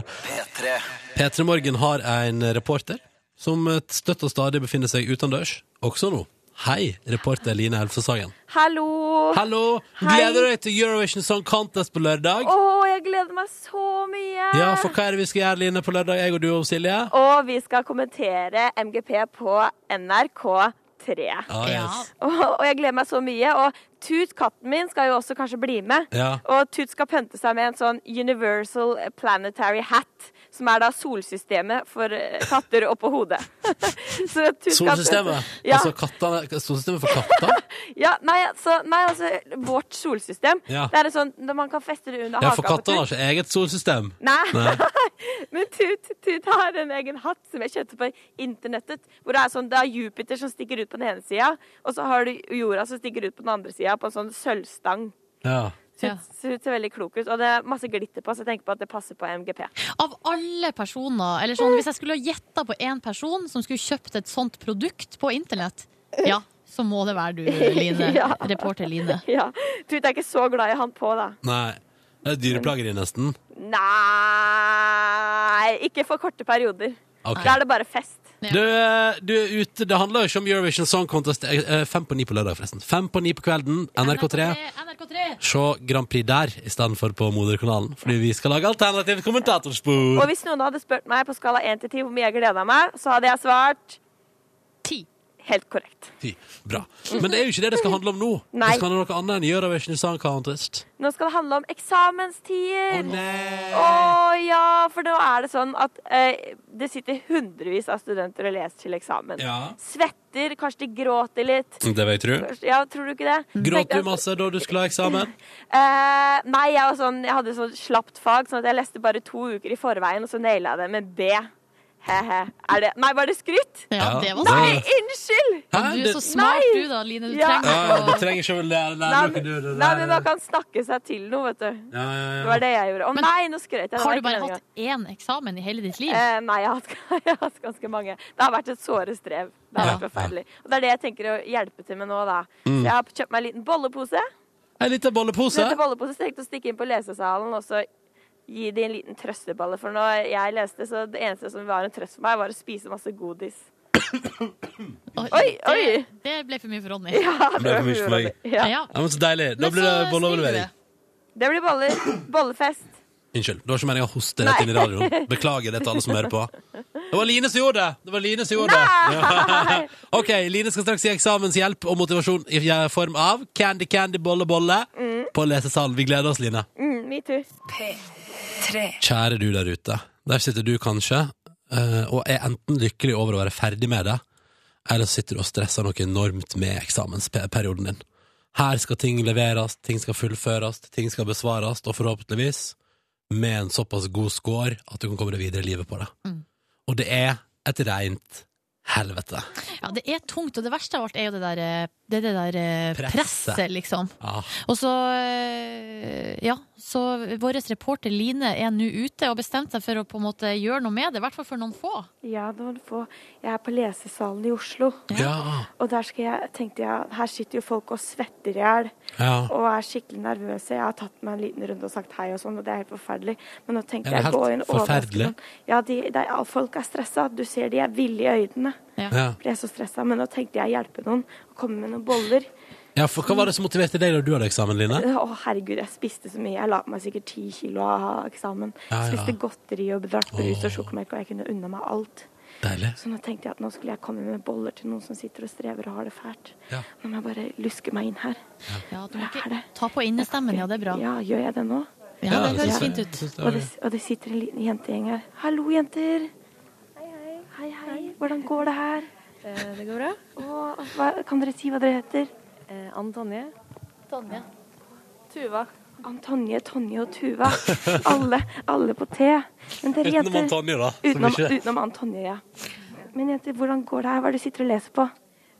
P3 Morgen har en reporter som støtt og stadig befinner seg utendørs, også nå. Hei, reporter Line Elfesagen.
Hallo!
Hallo! Gleder du deg til Eurovision Song Contest på lørdag?
Å, jeg gleder meg så mye!
Ja, for hva er det vi skal gjøre, Line, på lørdag, jeg og du og Silje?
Og vi skal kommentere MGP på NRK3.
Ah, yes.
Og, og jeg gleder meg så mye. Og Tut, katten min, skal jo også kanskje bli med.
Ja.
Og Tut skal pønte seg med en sånn Universal Planetary Hat, som er da solsystemet for eh, katter oppå hodet. Så Tut skal-
Solsystemet.
Ja.
Altså kattene, solsystemet for katter?
Ja, nei, altså, nei, altså vårt solsystem.
Ja.
Det er en sånn når man kan feste det under
Ja,
haka
for
på Tut.
kattene har ikke eget solsystem.
Nei.
Nei.
Men Tut, Tut har en egen hatt som jeg kjøpte på internettet. Hvor det er sånn, det er Jupiter som stikker ut på den ene sida, og så har du jorda som stikker ut på den andre sida, på en sånn sølvstang.
Ja.
Så
Ja.
det ser ut- ser veldig klok ut. Og det er masse glitter på, så jeg tenker på at det passer på MGP.
Av alle personer, eller sånn, hvis jeg skulle ha gjetta på én person som skulle kjøpt et sånt produkt på internett, ja, så må det være du, Line.
Ja.
Reporter Line.
Ja. Tut er ikke så glad i han på, da.
Nei. Det er dyreplageri, nesten.
Nei Ikke for korte perioder.
Ok.
Da er det bare fest.
Du, eh, du er ute. Det handler jo ikke om Eurovision Song Contest. Eh, eh, Fem på ni på lørdag, forresten. Fem på ni på kvelden. NRK3.
NRK3.
se Grand Prix der istedenfor på moderkanalen. Fordi vi skal lage alternativt kommentatorspor.
Og hvis noen hadde spurt meg på skala 1 til 10 hvor mye jeg gleda meg, så hadde jeg svart
Ti.
helt korrekt.
Fy, Bra. Men det er jo ikke det det skal handle om nå.
Nei.
Det skal handle om noe annet enn Eurovision Song Contest.
Nå skal det handle om eksamenstider. Å
Nei.
ja, for nå er det sånn at eh, det sitter hundrevis av studenter og leser til eksamen.
Ja.
Svetter, kanskje de gråter litt.
Det vil jeg tro.
Kanskje- Ja, tror du ikke det?
Gråt du masse da du skulle ha eksamen?
Eh, nei, jeg, var sånn, jeg hadde sånn slapt fag, sånn at jeg leste bare to uker i forveien, og så naila jeg det med B. He-he. Er det Nei, var det skryt?
Ja,
Ja.
det var
Nei!
smart.
Nei, unnskyld!
Hæ?
Du
Det-
er så smart, du da, Line. Du
Ja.
Ja,
trenger
du
å
trenger ikke å lære
Nei,
lære dere
men,
det- det-
nei, men man kan snakke seg til noe, vet du.
Ja, ja,
Det
ja.
var det jeg gjorde. Å
Men
nei, nå skrøt jeg. Det var
Har du
ikke
bare
meningen.
hatt én eksamen i hele ditt liv?
Eh, nei, jeg har, hatt, jeg har hatt ganske mange. Det har vært et såre strev. Det har
Ja.
vært forferdelig. Og det er det jeg tenker å hjelpe til med nå, da. Så jeg har kjøpt meg en liten bollepose.
En liten bollepose.
Dette bollepose tenkte å stikke inn på lesesalen og så gi de en liten trøsteballe. For når jeg leste, så det eneste som var en trøst for meg, var å spise masse godis. Oi, oi!
Det, det ble for mye for Ronny.
Ja,
Det er for mye for meg.
Ja.
Ja.
Ja, men så deilig. Da
Men
blir
så
det
skriver
bolleoverlevering.
Det blir boller. Bollefest.
Unnskyld. Det var ikke meningen å hoste rett inn i radioen. Beklager det til alle som hører på. Det var Line som gjorde det! Det var Line som gjorde det. Ja. OK, Line skal straks gi eksamenshjelp og motivasjon i form av Candy Candy Bolle Bolle på lesesalen. Vi gleder oss, Line.
Mm, me too.
Kjære du der ute. Der sitter du kanskje eh, og er enten lykkelig over å være ferdig med det, eller så sitter du og stresser noe enormt med eksamensperioden din. Her skal ting leveres, ting skal fullføres, ting skal besvares, og forhåpentligvis med en såpass god score at du kan komme deg videre i livet på det.
Mm.
Og det er et rent helvete.
Ja, det er tungt, og det verste av alt er jo det der, eh, det, det der eh,
Presset.
presset, liksom.
Ah,
Og så, eh, ja, så vår reporter Line er nå ute og bestemt seg for å på en måte gjøre noe med det, i hvert fall for noen få.
Ja, nå må du få Jeg er på lesesalen i Oslo,
ja.
og der skal jeg, tenkte jeg Her sitter jo folk og svetter i hjel.
ja.
og er skikkelig nervøs. Jeg har tatt meg en liten runde og sagt hei og sånn, og det er helt forferdelig. Men nå
Ja,
tenkte
det er
jeg gå
helt
inn
forferdelig.
overraskende. Ja, de, de, ja, folk er stressa. Du ser de er ville i øynene.
Ja.
Ble så stressa. Men nå tenkte jeg hjelpe noen. og Komme med noen boller.
ja, for hva var det som motiverte deg da du hadde eksamen, Line?
Å, herregud, jeg spiste så mye. Jeg la på meg sikkert ti kilo av eksamen.
Ja, ja.
Spiste godteri og drakk brus
Åh.
og sjokomelk, og jeg kunne unna meg alt.
Deilig.
Så nå tenkte jeg at nå skulle jeg komme med boller til noen som sitter og strever og har det fælt.
Ja.
Nå må jeg bare luske meg inn her.
Ja, du må
Hvor er
ikke
det?
ta på innestemmen, ja, det er bra.
Ja, gjør jeg det nå?
Ja, det
jeg
høres
synes
fint
det-
ut.
jeg synes det
Og
var-
det, og det sitter en liten jentegjeng her. Hallo, jenter. Hei, hei. Hvordan går det her?
Eh, Det går bra. Eh,
Og, hva, kan dere si hva dere heter?
Ann Tonje.
Tuva. Antonje, Tonje og Tuva. Alle, alle på T. Men dere
Utenom
jenter
Antonio, da. som
Utenom,
ikke-
utenom Antonje, ja. Men jenter, hvordan går det her? Hva er det du sitter og leser på?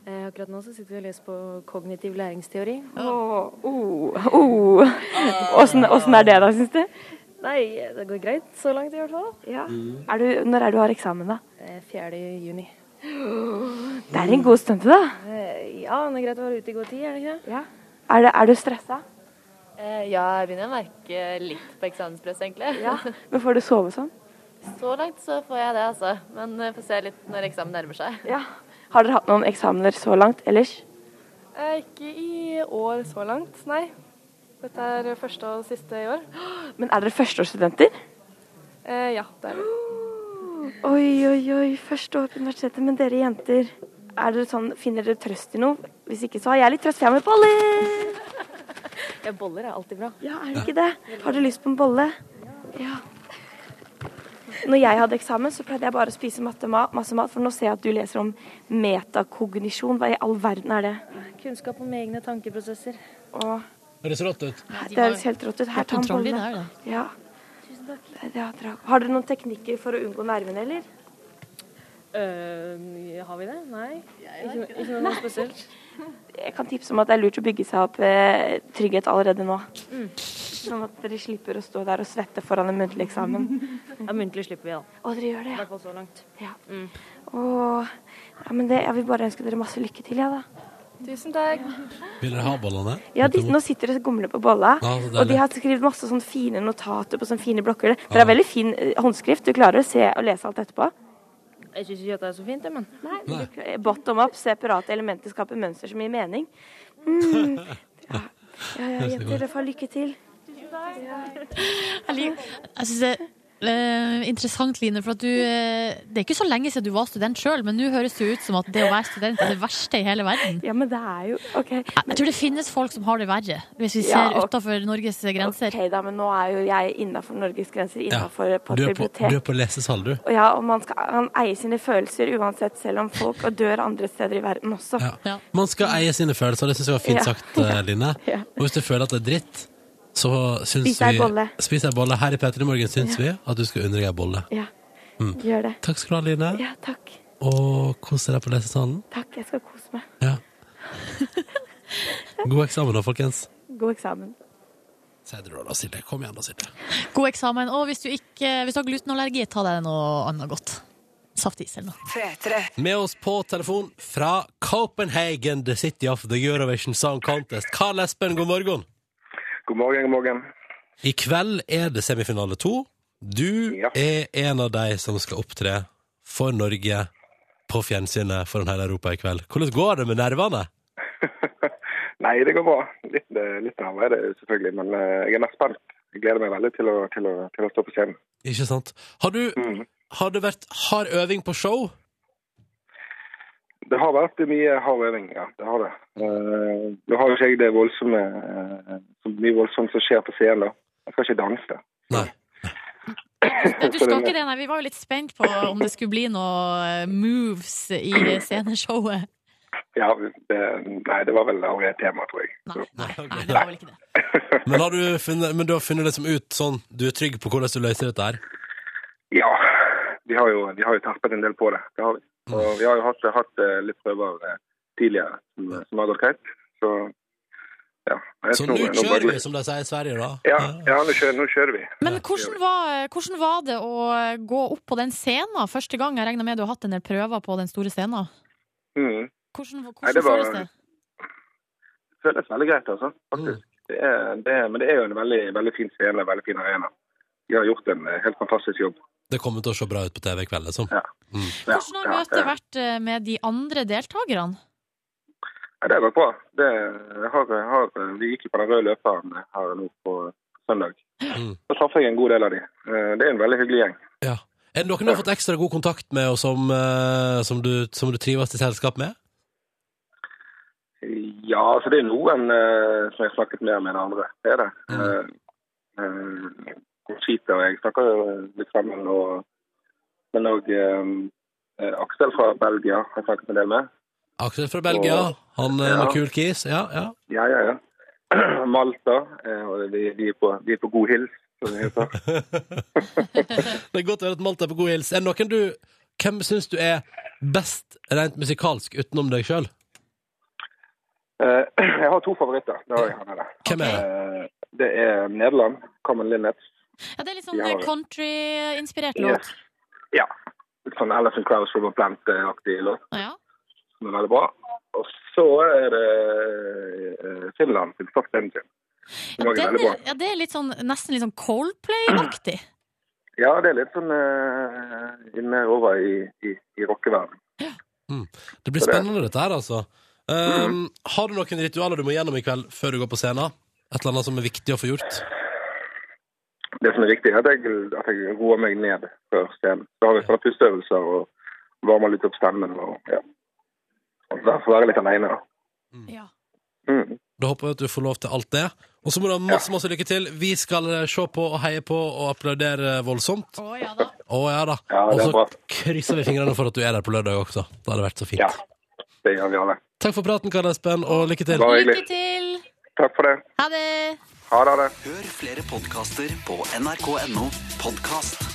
Eh, akkurat nå så sitter vi og leser på kognitiv læringsteori.
Åh, oh, oh. Åssen åssen er det, da, syns du?
Nei, det går greit så langt i hvert fall.
Ja. Er du, når er det du har eksamen, da?
4. juni.
Det er en god stund til, da.
Eh, Ja, men det er greit å være ute i god tid, er det ikke det?
Ja. Er, det, er du stressa?
Eh, ja, jeg begynner å merke litt på eksamenspress, egentlig.
Men får du sove sånn?
Så langt så får jeg det, altså. Men eh, får se litt når eksamen nærmer seg.
Ja. Har dere hatt noen eksamener så langt ellers?
Eh, ikke i år så langt, nei. Dette er første og siste i år. Eh,
Men er dere førsteårsstudenter?
ja, det er det.
Oi, oi, oi. Første år på universitetet. Men dere jenter, er dere sånn, finner dere trøst i noe? Hvis ikke, så har jeg litt trøst. for Jeg har med boller!
boller er alltid bra.
Ja, er det ikke det? Har dere lyst på en bolle? Ja. Når jeg hadde eksamen, så pleide jeg bare å spise matte, ma- masse mat, for nå ser jeg at du leser om metakognisjon. Hva i all verden er det?
Kunnskap om egne tankeprosesser.
Og
Høres rått ut.
det høres helt rått ut. Her, ta en
Kontroll i det
bolle.
her, da.
Ja. Ja, dra- Har dere noen teknikker for å unngå nervene, eller?
Eh, har vi det? Nei. Ikke, ikke noe spesielt.
Jeg kan tipse om at det er lurt å bygge seg opp eh, trygghet allerede nå. Sånn at dere slipper å stå der og svette foran en muntlig eksamen.
Ja, muntlig slipper vi, da.
Å, dere gjør det,
I
ja.
hvert fall så langt.
Ja. Åh, ja men det, jeg vil bare ønske dere masse lykke til, jeg, da.
Tusen takk.
Vil dere ha bollene?
Ja, de, nå sitter dere og gomler på bolla,
Ja, så deilig.
og de har skrevet masse sånne fine notater på sånne fine blokker. Dere har veldig fin eh, håndskrift. Du klarer å se og lese alt etterpå.
Jeg syns ikke at det er så fint, jeg, men.
Nei, men du kl- Bottom up, separate elementer skaper mønster som gir mening. Mm. Ja, ja, ja jenter, dere får ha lykke til.
Jeg, lik- jeg synes det er eh, interessant, Line, for at du eh, Det er ikke så lenge siden du var student sjøl, men nå høres det ut som at det å være student er det verste i hele verden.
Ja, men det er jo OK.
Jeg tror det finnes folk som har det verre, hvis vi
Ja,
ser
og-
utenfor Norges grenser.
Ok da, men nå er jo jeg innafor Norges grenser, innafor på
Du
et
er på, du er
bibliotek.
på lesesal, du.
Og ja, og man skal man eier sine følelser uansett, selv om folk og dør andre steder i verden også.
Ja.
Ja.
Man skal eie sine følelser, det syns jeg var fint
Ja.
sagt, eh, Line.
Ja.
Og hvis du føler at det er dritt, så syns
Spis ei
vi
bolle.
Spis ei bolle. Her i P3 Morgen syns vi at du skal unne deg ei bolle.
Ja. Gjør det.
Takk skal du ha, Line.
Ja, takk.
Og kos deg på lesesalen.
Takk, jeg skal kose meg.
Ja. God eksamen da, folkens.
God eksamen.
Sier du da, Silje. Kom igjen da, Silje.
God eksamen. Og hvis du, ikke, hvis du har glutenallergi, ta deg noe annet godt. Saftis eller noe.
Med oss på telefon fra Copenhagen, the city of the Eurovision Song Contest. Karl Espen, god morgen.
God morgen, god morgen.
I kveld er det semifinale to. Du
Ja.
er en av de som skal opptre for Norge på fjernsynet foran hele Europa i kveld. Hvordan går det med nervene?
Nei, det går bra. Litt, eh, litt nerver er det selvfølgelig, men eh, jeg er mest spent. Jeg gleder meg veldig til å, til å, til å stå på scenen.
Ikke sant? Har du,
Mhm.
har du vært hard øving på show?
Det har vært mye hard øving, ja. Det har det. Eh, nå har jo ikke jeg det voldsomme, eh, så mye voldsomt som skjer på scenen, da. Jeg skal ikke danse.
Nei.
Men du skal ikke det, nei. Vi var jo litt spent på om det skulle bli noe eh, moves i sceneshowet.
Ja, det, nei, det var vel aldri et tema, tror jeg.
Nei, nei,
ok,
nei, det var vel ikke det.
Men, har du funnet, men du har funnet liksom ut sånn Du er trygg på hvordan du løser dette her?
Ja, vi har jo, vi har jo terpet en del på det. det har vi.
Mm.
Og vi har jo hatt, hatt eh, litt prøver eh, tidligere som, som har gått greit. Så ja. jeg
Så
tror-
nå
bare-
kjører vi, som de sier i Sverige, da.
Ja, ja nå, kjører, nå kjører vi.
Men hvordan var, hvordan var det å gå opp på den scenen første gang? Jeg regner med du har hatt en del prøver på den store scenen.
Mm.
Hvordan,
Nei,
hvordan
det var-
føles det?
Det føles veldig greit, altså.
Mm.
Faktisk. Det er, det er, men det er jo en veldig, veldig fin scene, en veldig fin arena. De har gjort en eh, helt fantastisk jobb.
Det kommer til å se bra ut på TV i kveld, liksom.
Ja. Ja,
Hvordan har
ja,
møtet vært eh, med de andre deltakerne?
Ja, det har gått bra. Det har, har, vi gikk jo på den røde løperen her nå på eh, søndag.
Mm.
Så traff jeg en god del av de. Eh, Det er en veldig hyggelig gjeng.
Ja. Er det noen du har fått ekstra god kontakt med, og som, eh, som, du, som du trives i selskap med?
Ja, altså det er noen eh, som jeg har snakket mer med enn andre. Det er det.
Mm.
Eh, eh, Conchita og jeg snakker jo eh, litt sammen. Og, men òg Aksel fra Belgia har jeg snakket en del med.
Aksel fra Belgia. Han er
Ja.
en kul kis. Ja, ja.
Ja, ja, ja. Malta. eh, og de, de, er på, de er på god hils, som det heter.
Det er godt å høre at Malte er på god hils. Er det noen du Hvem syns du er best rent musikalsk utenom deg sjøl?
Eh, jeg har to favoritter. Det har jeg her nede.
Hvem er det?
Eh, det er Nederland, Common Linnets.
Ja, det er litt sånn
Ja.
eh, country-inspirert
Ja.
låt.
ja. Litt sånn Alison Krauss, Robert Plant-aktig låt.
Ja.
som er veldig bra. Og så er det eh, Finland sin Soft Engine. Som
Ja,
også er
den
veldig bra.
er, ja, det er litt sånn, nesten litt sånn Coldplay-aktig.
Ja, det er litt sånn eh, inne over i, i, i rockeverdenen.
Det blir spennende, dette her, altså.
Mhm.
Um, har du noen ritualer du må gjennom i kveld før du går på scenen? Et eller annet som er viktig å få gjort?
Det som er viktig, er at jeg, at jeg roer meg ned før scenen. Så har vi sånne pusteøvelser og varmer litt opp stemmen. Og, ja. og så får jeg være litt aleine, da.
Ja.
Mm.
Da håper jeg at du får lov til alt det. Og så må du ha masse, masse lykke til. Vi skal eh, se på og heie på og applaudere voldsomt.
Å ja da.
Å ja da.
Ja,
Og
det er
så
bra.
krysser vi fingrene for at du er der på lørdag også. Det hadde vært så fint.
Ja. Det gjør vi alle.
Takk for praten, Karl Espen, og lykke til.
Bare
Lykke
hyggelig.
til!
Takk for det.
Ha det!
Ha det. Ha det.
Hør flere podkaster på nrk.no podkast.